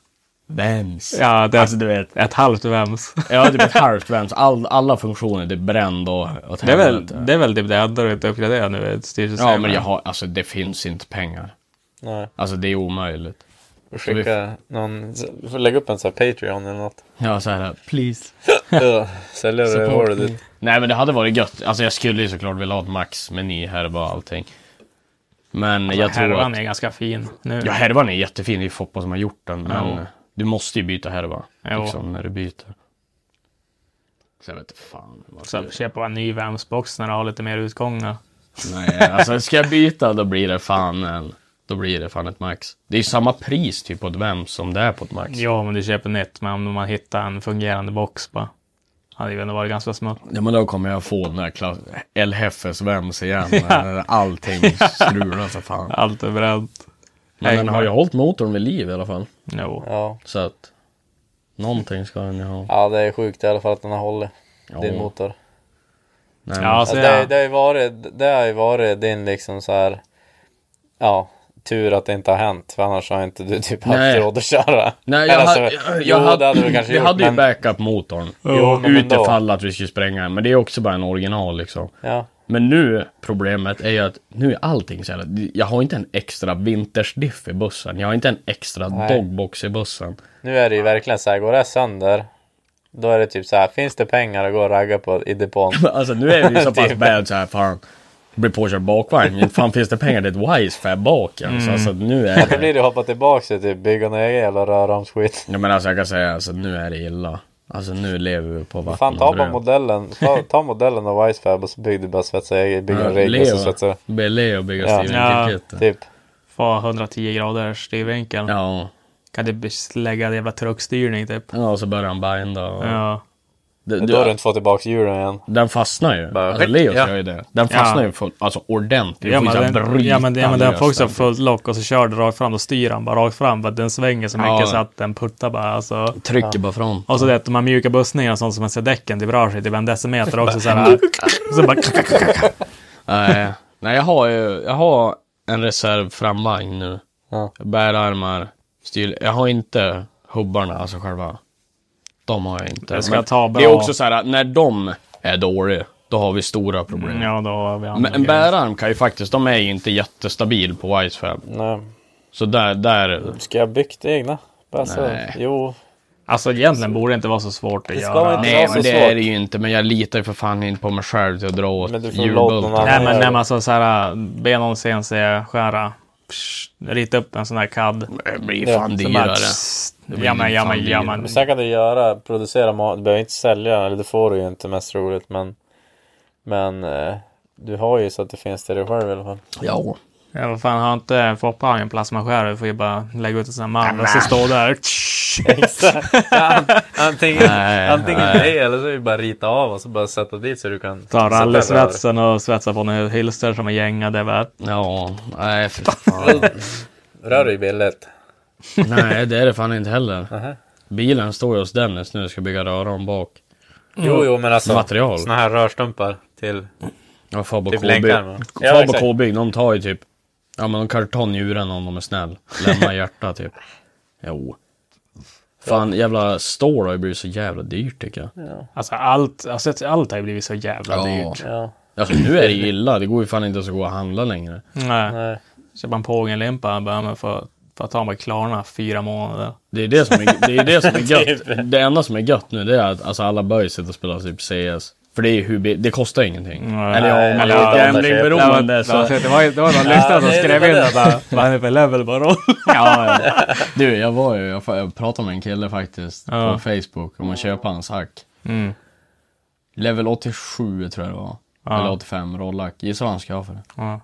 E: Vems?
D: ja, det, alltså, du vet. Ett halvt vems.
E: Ja, typ ett halvt vems. All, alla funktioner, det är bränd och åt
D: Det är,
E: helvete.
D: väl, det är väl typ det enda du inte uppgraderar nu, ett styrsystem.
E: Ja, men jag har, alltså det finns inte pengar.
C: Nej.
E: Alltså det är omöjligt.
C: Skicka någon... Du får lägga upp en sån här Patreon eller något.
E: Ja, så här, please.
C: Ja, Säljer du hålet ditt.
E: Nej, men det hade varit gött. Alltså jag skulle ju såklart vilja ha ett max med ny härva och allting. Men jag tror
D: Alltså, Härvan
E: att...
D: är ganska fin nu.
E: Ja, härvan är jättefin. Det är Foppa som har gjort den. Men
D: Jo.
E: du måste ju byta härva.
D: Jo.
E: Liksom när du byter. Så jag vet inte fan. vad
D: Så
E: jag ska
D: köpa en ny vemsbox när du har lite mer utgångar.
E: göra. Nej, alltså ska jag byta då blir det fan en... Då blir det fan ett max. Det är ju samma pris typ på ett vems som det är på ett max.
D: Ja, men du köper nytt. Men om man hittar en fungerande box bara. Hade ju ändå varit ganska smutt.
E: Ja men då kommer jag få den där klass... El Hefes vems igen. När allting strular för fan.
D: Allt är bränt.
E: Men den
D: Nej,
E: har ju
D: men-
E: hållit motorn vid liv i alla fall.
D: Jo.
C: Ja.
E: Så att någonting ska den ju ha.
C: Ja, det är sjukt i alla fall att den har hållit. Din motor.
E: Nej,
D: Ja,
E: men-
D: alltså,
C: Alltså, det,
D: jag,
C: det, har ju varit, det har ju varit din liksom så här... Ja, tur att det inte har hänt. För annars har inte du typ haft
E: Nej.
C: råd att köra.
E: Nej,
C: Eller
E: jag,
C: alltså,
E: hade, jag,
C: jo,
E: hade,
C: det hade du kanske
E: vi
C: gjort.
E: hade ju
C: men,
E: backup-motorn.
C: Jo, men ändå.
E: Utifall att vi skulle spränga den. Men det är också bara en original liksom.
C: Ja.
E: Men nu, problemet är ju att nu är allting så jävla... Jag har inte en extra vintersdiff i bussen. Jag har inte en extra dogbox i bussen.
C: Nu är det ju verkligen så här, går det sönder, då är det typ så här, finns det pengar att gå och ragga på i depån?
E: Alltså nu är vi ju så pass
C: Typ.
E: bad så här, fan. Blir påkörd bakvagn. Inte Fan finns det pengar till ett Wisefab bak ens. Alltså nu är
C: Då
E: det...
C: blir Mm. det att hoppa tillbaka till typ bygga någon egen jävla röromsskit.
E: Ja men alltså jag kan säga alltså nu är det illa. Alltså nu lever vi på vatten
C: Fan ta
E: och
C: bara
E: bröd.
C: modellen, ta, ta modellen av Wisefab och så bygg du bara svetsa egen, bygg en rigg och så svetsa.
E: Be Leo bygga
C: Ja.
D: Ja.
E: Steven Kit.
C: Typ.
D: Få 110 graders styrvinkel.
E: Ja.
D: Kan du lägga en jävla truckstyrning typ.
E: Ja, och så börjar han binda och...
D: Ja.
E: Du,
C: Då har du
E: du,
C: inte fått tillbaka hjulen igen.
E: den fastnar ju.
F: Bara-
E: alltså Leos
F: Ja.
E: gör ju det. Den fastnar ju full, alltså ordentligt.
D: Ja
E: Du får
D: men,
E: ju så här
D: den,
E: bryta
D: ja men, ja, men den får
E: lös
D: också
E: den.
D: fullt lock och så kör du rakt fram, då styr han bara rakt fram. För att den svänger så
E: Ja.
D: mycket så att den puttar bara. Alltså.
E: Trycker bara från.
D: Och så det, de här mjuka bussningarna och sånt som man ser däcken, det rör sig typ en decimeter också. Så här, så bara,
E: Nej, nej jag har ju, jag har en reserv framvagn nu.
C: Ja.
E: Bärarmar, styr. Jag har inte hubbarna, alltså själva De har jag inte.
D: Det ska
E: Men
D: ta
E: det är
D: bra-
E: också så här, när de är dåliga, då har vi stora problem.
D: Ja, då har vi andra
E: Men en
D: grejer.
E: bärarm kan ju faktiskt, de är ju inte jättestabil på Icefab.
C: Nej.
E: Så där, där...
C: Ska jag bygga det egna? Bara så.
E: Nej.
C: Jo.
D: Alltså egentligen borde det inte vara så svårt att
C: Det ska
D: göra.
C: inte
E: Nej
C: så
E: men det
C: svårt.
E: är det ju inte, men jag litar ju för fan inte på mig själv till att dra åt
C: Men du får låta någon
E: julbulten.
C: annan-
D: Nej, men
C: Ja.
D: när man så, så här, be någon CNC-skära, rita upp en sån här CAD.
E: Det blir
C: Ja,
E: fan
D: Så
E: dyrare.
D: bara, psst, Ja, men, ja, men, ja, men.
C: Men sen kan du göra, producera mat. Du behöver inte sälja, eller det får du ju inte mest roligt. Men, men eh, du har ju så att det finns till dig själv i alla fall.
E: Ja.
D: Ja, vad fan, har inte Foppa en plasmaskär? Vi får ju bara lägga ut en sån här mall och så stå där.
C: Antingen,
E: Nej,
C: antingen
E: nej.
C: det eller så är det bara rita av och så bara sätta dit så du kan
D: Ta
C: sätta
D: rallysvetsen och svetsa på en hylster som är gängade. va?
E: Ja, nej för fan.
C: rör. Rör är ju billigt.
E: nej det är det fan inte heller. Bilen står ju hos Dennis nu, ska bygga röran bak.
C: Jo, jo, men alltså
E: Mm. Material.
C: såna här rörstumpar till
E: Ja, Fab och
C: Typ
E: KB.
C: länkar, va? Ja,
E: Fab och
C: exakt.
E: KB, de tar ju typ... Ja men de kanske tar njuren om de är snäll. Lämna hjärta typ. Jo. Fan jävla stål har ju blivit så jävla dyrt tycker jag.
D: Alltså allt, alltså, allt har ju blivit så jävla
E: Ja.
D: dyrt.
C: Ja,
E: Alltså nu är det ju illa, det går ju fan inte ens att gå och handla längre.
D: Nej.
C: nej.
D: Köpa en Pågenlimpa bara men för, för att ta mig Klarna fyra månader.
E: Det är det som är, det är, det som är
D: Typ.
E: gött. Det enda som är gött nu det är att alltså, alla börjar sitta och spela typ CS. För det är ju hur bi- det kostar ingenting.
D: Nej.
E: Eller ja, man
C: Eller
E: är
C: ja,
E: gamblingberoende så...
D: det var ju det var någon lyssnare som
C: det-
D: skrev
C: det
D: in
C: var
D: och
C: det.
D: bara Vad är det för level bara?
E: Ja, ja. Du, jag var ju, jag fa- jag pratade med en kille faktiskt på Facebook om att köpa hans hack.
D: Mm.
E: Level 87 tror jag det var.
D: Ja.
E: Eller 85, rollack. Gissa vad han ska ha för det?
D: Ja.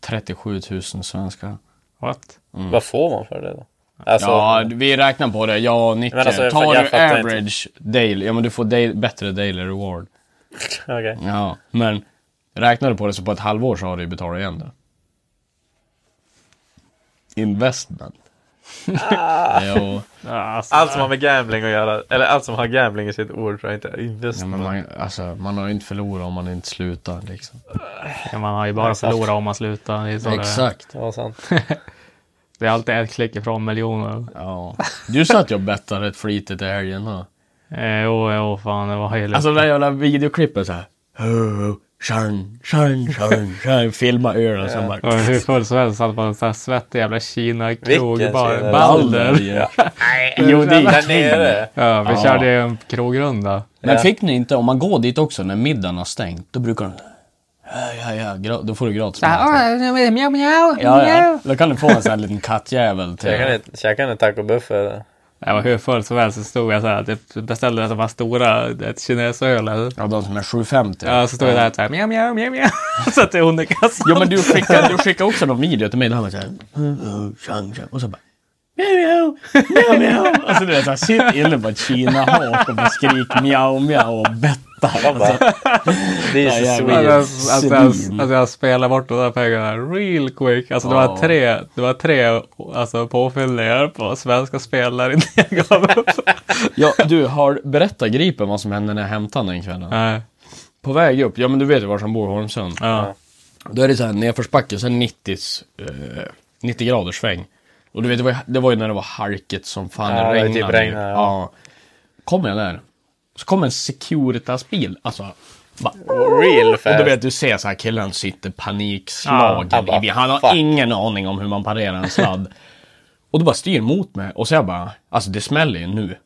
E: 37 000 svenska.
D: What?
C: Vad får man för det då? Alltså,
E: ja, vi räknar på det. Ja, 90.
C: Men alltså, jag-
E: Tar
C: jag
E: du
C: fattar
E: average
D: liksom.
E: daily, ja men du får daily, bättre daily reward.
C: okej.
E: Ja, men räknar du på det så på ett halvår så har du ju betalat igen det. Investment. jo,
D: Alltså,
C: Allt som har med gambling att göra, eller allt som har gambling i sitt ord tror jag inte är
E: ja,
C: investment.
E: men man, alltså, man har ju inte förlorat om man inte slutar liksom.
D: man har ju bara förlorat om man slutar. Det är, så det, är.
E: Exakt.
C: Det var sant.
D: det är alltid ett klick ifrån miljoner.
E: Ja. Du satt ju och bettade rätt flitigt i helgen då.
D: Eh, jo, jo, fan det var ju
E: Alltså det där jävla videoklippet såhär. Tjärn, tjärn, tjärn, tjärn. Filma ölen sen
D: Och
E: bara.
D: hur full som helst satt på en sån här svettig jävla Kina-krog.
C: Vilken
D: Bara
C: Kina?
D: Balder.
E: Ja. Jo, det
C: Där
E: är
C: nere.
D: Ja, vi
E: Ja.
D: körde ju en krogrunda.
E: Men fick ni inte, om man går dit också när middagen har stängt, då brukar de... Ja, ja, ja, gra- då får du gratis mat. Ja, ja. Då kan du få en sån här liten kattjävel till.
C: Käkade ni- Käkade ni tacobuffé?
D: Jag var hur full som helst så stod jag så här. Jag beställde de här stora, ett kinesöl.
E: Ja, de som är 750.
D: Ja, så stod jag där så här. Mjau, mjau, mjau, mjau. Så att det är hon i kassan.
E: Jo, men du skickade, du skickade också någon video till mig där han var såhär... Tjang, tjang. Och så bara... Mjau, mjau, mjau. Alltså du vet, såhär, sitt inne på ett kinahak och bara skrik mjau, mjau och bettar.
C: Man bara, this
E: Ja,
C: is
E: jävlar.
D: Alltså,
C: Sweden.
D: alltså, alltså, jag- alltså jag spelade bort de där pengarna real quick. Alltså det
E: Ja.
D: var tre, det var tre alltså, påfyllningar på svenska spelare innan jag gav upp.
E: Ja, du, har berättat Gripen vad som hände när jag hämtade honom den kvällen.
D: Nej.
E: På väg upp, ja men du vet ju var han bor, Holmsund.
D: Ja.
E: Då är det så här nedförsbacke, sen 90, eh, 90 graders sväng. Och du vet, det var, ju- det var ju när det var halket som fan
C: Ja, det
E: regnade.
C: typ regnade,
E: ja.
C: ja.
E: Kommer jag där, så kommer en Securitas-bil. Alltså, bara,
C: Real
E: och
C: fast.
E: du vet, du ser så här killen sitter panikslagen.
C: Ja, han
E: i, han har
C: bara, fuck.
E: ingen aning om hur man parerar en sladd. och du bara styr mot mig och så jag bara, alltså det smäller ju nu.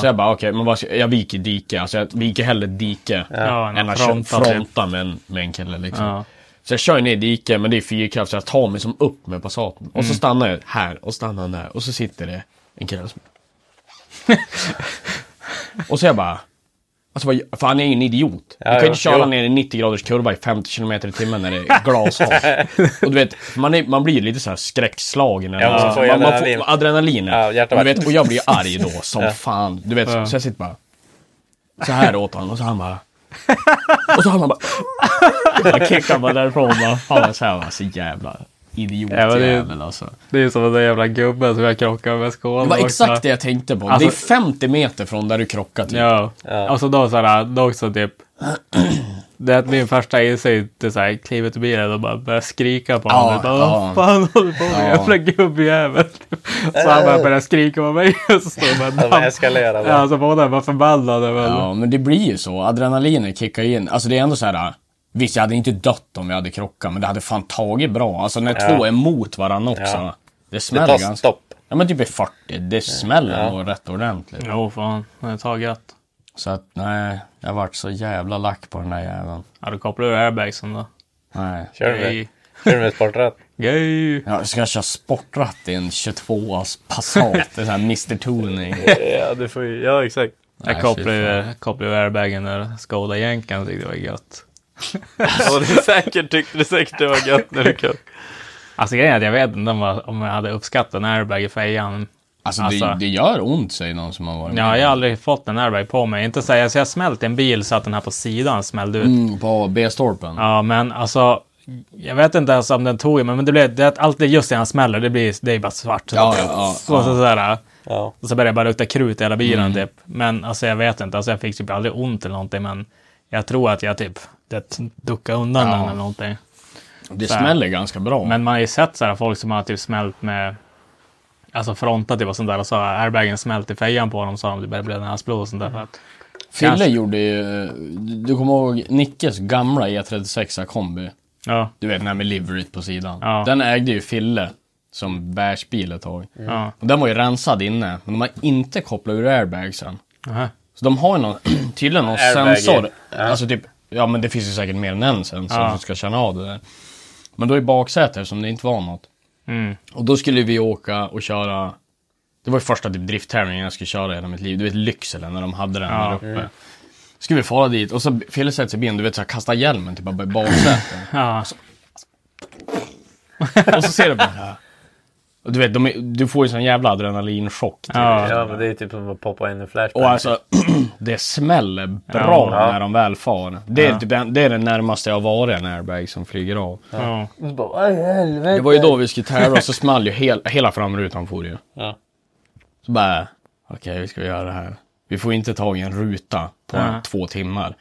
E: Så jag bara okej, men vad ska, jag viker dike. Alltså jag viker hellre dike
D: Ja,
E: än att fronta,
D: fronta typ.
E: fronta med, en, med en kille liksom.
D: Ja.
E: Så jag kör ner i diket, men det är fyrkraft så jag tar mig som upp med Passaten. Och så stannar jag här och stannar han där och så sitter det en kille som... och så jag bara... Alltså, vad- för han är ju en idiot. Du kan ju
C: jo,
E: inte köra
C: jo.
E: ner i 90 graders kurva i 50 km i timmen när det är glashalt. och du vet, man, är, man blir ju lite så här skräckslagen. eller
C: Ja,
E: något
C: man
E: sånt.
C: får ju
E: man, man
C: adrenalin.
E: får adrenalinet.
C: Ja, hjärtat
E: och,
C: bara-
E: du vet, och jag blir ju arg då som fan. Du vet, så jag sitter bara... Så här åt honom och så han bara... Och så han bara... Han kickar bara därifrån bara. Han var så här, bara, så jävla idiotjävel alltså.
D: Det är som den där jävla gubben som jag krockade med skålen
E: Det var
D: också.
E: exakt det jag tänkte på.
D: Alltså-
E: det är 50 meter från där du krockar typ.
D: Ja. Alltså då såhär, då också typ. det är att min första insikt är såhär, kliva ut ur bilen och bara börja skrika på
E: Ja,
D: honom. Jag bara,
E: ja.
D: Vad fan håller du på med?
E: Ja.
D: Jävla gubbjävel. Så han bara börjar skrika på mig. Och så står det bara,
C: De eskalerar bara.
D: Ja, så båda bara förbannade. Men...
E: Ja, men det blir ju så. Adrenalinet kickar in. Alltså det är ändå så här. Visst, jag hade inte dött om vi hade krockat, men det hade fan tagit bra. Alltså när
C: Ja.
E: två är mot varandra också.
C: Ja.
E: Det
C: Det
E: smäller
C: tar
E: ganska...
C: stopp.
E: Ja men typ i 40, det smäller
C: Ja.
E: nog rätt ordentligt.
D: Jo, fan. Det är taget.
E: Så att nej, jag vart så jävla lack på den där jäveln.
D: Ja, du kopplar ur airbagsen då.
E: Nej.
C: Kör med,
D: Gay.
C: kör med sportratt.
D: Gay.
E: Ja, ska jag köra sportratt i en 22as Passat? Det är sån här Mr Tuning.
C: Ja, du får ju, ja exakt.
D: Jag kopplade ur, kopplade ur airbagen när Skoda jänkan tyckte det var gött.
C: Och du säkert tyckte du säkert det var gött när du kom.
D: Alltså grejen är att jag vet inte om jag- om jag hade uppskattat en airbag i fejan.
E: Alltså,
D: Alltså.
E: Det, det gör ont säger någon som har varit
D: Ja, jag har aldrig fått en airbag på mig. Inte så här, alltså, jag smält i en bil så att den här på sidan smällde ut.
E: Mm, på B-stolpen.
D: Ja, men alltså. Jag vet inte ens om den tog i mig, men det blev, det, att allt det just innan han smäller, det blir, det är bara svart.
E: Ja, ja, ja, Mm.
D: så, så, sådär.
C: Ja.
D: Och så började det bara lukta krut i hela bilen typ. Men alltså jag vet inte, alltså jag fick typ aldrig ont eller någonting, men jag tror att jag typ det, duckade undan
E: Ja.
D: den eller någonting.
E: det
D: så här.
E: smäller ganska bra.
D: Men man har ju sett sådär folk som har typ smält med Alltså frontat typ och sånt där och så har airbagen smält i fejan på dem så har de typ börjat blöda näsblod och sånt där. för att-
E: Fille
D: Kanske.
E: gjorde ju, du kommer ihåg Nickes gamla E36 kombi?
D: Ja,
E: Du vet den här med liveryt på sidan.
D: Ja.
E: Den ägde ju Fille som bärsbil ett tag.
D: ja.
E: Och den var ju rensad inne, men de har inte kopplat ur airbagsen.
D: Aha.
E: Så de har ju någon, tydligen någon
C: Airbag i.
E: sensor. Alltså typ, ja men det finns ju säkert mer än en sensor
D: Ja.
E: som ska känna av det där. Men då i baksätet som det inte var något.
D: Mm.
E: Och då skulle vi åka och köra Det var ju första typ drifttävlingen jag skulle köra i hela mitt liv. Du vet Lycksele när de hade den
D: Ja.
E: där uppe. Skulle vi fara dit och så Fille sätter sig i bilen, du vet så här, kasta hjälmen typ bara i baksätet.
D: Ja.
E: och så ser du bara och du vet, de är, du får ju sån jävla adrenalinchock. Typ.
D: Ja.
C: Ja, men det är ju typ som att poppa in i Flashback.
E: Och alltså, det smäller bra när de väl far. Det är, typ, den- det är det närmaste jag har varit en airbag som flyger av.
D: Ja.
E: Det var ju då vi skulle tävla och så small ju hel, hela framrutan for ju.
C: Ja.
E: Så bara, okej hur ska vi göra det här? Vi får inte tag i en ruta på
D: Nej.
E: två timmar.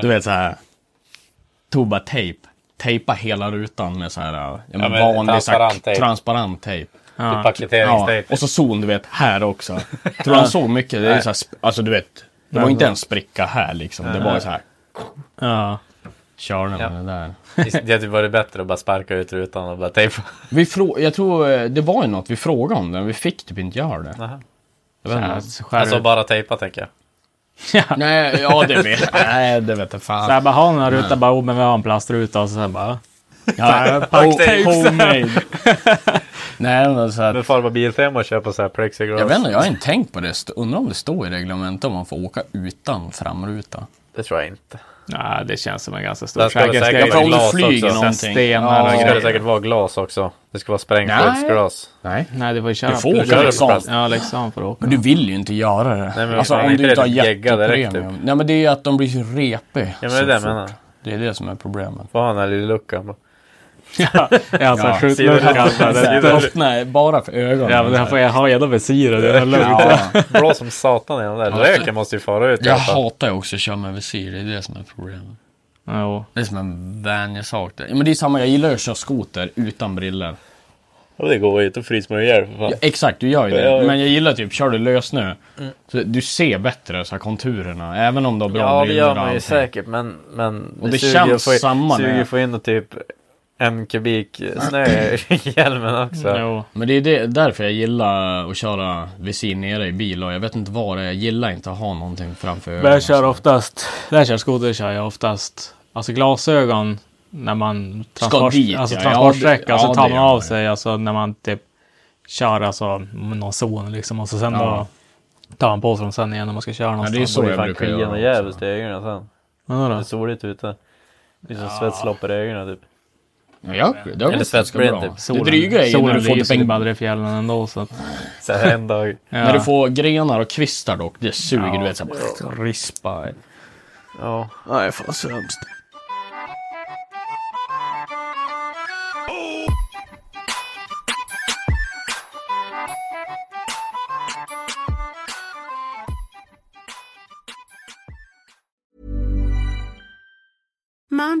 E: Du vet så här. Tog bara tejp. Tejpa hela rutan med så här, ja, men
C: men
E: vanlig så här
C: transparent tejp.
E: transparent tejp.
C: Typ
E: Ja,
C: paketeringstejp.
E: och så zon, du vet, här också. Tror du han såg mycket? Det är så här, sp- alltså du vet, det var inte en spricka här liksom. Det var ju så här,
D: Ja.
E: körde man
C: Ja.
E: det där.
C: Det hade typ varit bättre att bara sparka ut rutan och bara tejpa.
E: Vi frå- jag tror eh, det var ju något vi frågade om den, vi fick typ inte göra det.
C: Aha.
E: Jag vet inte.
D: Alltså,
C: Alltså bara tejpa tänker jag.
E: Nej, ja det vet Nej, det vet jag
D: Så här
E: fan.
D: bara, har ni en ruta? Bara, oh, men vi har en plastruta. Och så sen bara,
E: Ja,
C: Packtapes.
E: ho-
D: Oh,
E: homemade. Nej, men så
C: Men
E: att,
C: far på Biltema och köpa så här plexiglas.
E: jag vet inte, jag har inte tänkt på det. St- Undrar om det står i reglementet om man får åka utan framruta.
C: Det tror jag inte.
D: nej det känns som en ganska stor
C: Där ska det säkert
D: säkerhetsgrej.
C: vara
E: om du
C: glas
E: flyger
C: också.
E: någonting.
D: Stenar och
C: Det ska det
D: grejer.
C: säkert vara glas också. Det ska vara sprängskyddsglas.
E: Nej.
D: Nej, du får ju köra.
E: Du får
C: Kör
E: åka
C: det på
E: liksom.
C: plats.
D: Ja, Leksand får du åka.
E: Men du vill ju inte göra det.
C: men
E: alltså
C: fan,
E: om
C: inte
E: du inte har
C: det gegga direkt,
E: jättepremium. Nej men det är ju att de blir så repig.
C: Ja men
E: så
C: det är det jag
E: fort.
C: menar.
E: Det är det som är problemet.
C: Får ha den här lilla luckan.
D: Ja, alltså,
E: Ja.
D: skjut luckan. så här, det-
E: Det öppnar bara för ögonen.
D: Ja, men det här får jag ha gärna visir och det är lugnt.
E: Ja.
C: Blå som satan genom där. Röken måste ju fara ut. i
E: Jag
C: alla fall.
E: hatar ju också att köra med visir, det är det som är problemet.
D: Jo.
E: Det är som en vänjesak det. Ja, Men det är samma, jag gillar ju att köra skoter utan briller.
C: Och det går ju inte. Då fryser man ju ihjäl för fan.
E: Ja, exakt, du gör ju
C: Ja,
E: det.
C: ja.
E: Men jag gillar typ, kör du lös nu. Så du ser bättre så här konturerna, även om du har bra
H: Ja, det
E: briller
H: gör
E: och
H: man ju
E: allting.
H: säkert, men... men
E: Och det
C: suger
E: känns
C: att få i-
E: samma
C: Suger
E: när-
C: att få in och typ en kubik snö i hjälmen också.
D: Jo.
E: Men det är det, därför jag gillar att köra visir nere i bil och jag vet inte vad det är. Jag gillar inte att ha någonting framför
D: Men
E: ögonen.
D: jag kör oftast, när jag kör skoter kör jag oftast, alltså glasögon när man transport,
E: dit,
D: alltså
E: ja.
D: transportsträcka,
E: Ja, det-
D: så tar
E: ja, det
D: man
E: gör man
D: av
E: ju.
D: sig, alltså när man typ kör alltså någon zon liksom och så sen
E: Ja.
D: då tar man på sig dem sen igen när man ska köra
E: Ja, det är
D: någonstans.
E: så
C: Det är
E: jag
C: fan
E: brukar göra.
C: kliande
E: också.
C: djävulskt i ögonen sen.
D: Ja,
C: Det är
D: då.
C: soligt ute. Det är som svettloppar i ögonen typ.
E: Ja, jag, det har
C: Eller
E: gått ganska
C: svetsbrand,
E: bra.
C: typ.
E: Det dryga är ju när
D: solen
E: du får
D: lyser ju
E: typ en
D: bara i fjällen ändå så att,
C: Så här en dag.
D: ja.
E: När du får grenar och kvistar dock, det suger.
D: Ja.
E: Du vet såhär, rispa.
C: Ja.
E: Nej, fan så hemskt.
I: Mom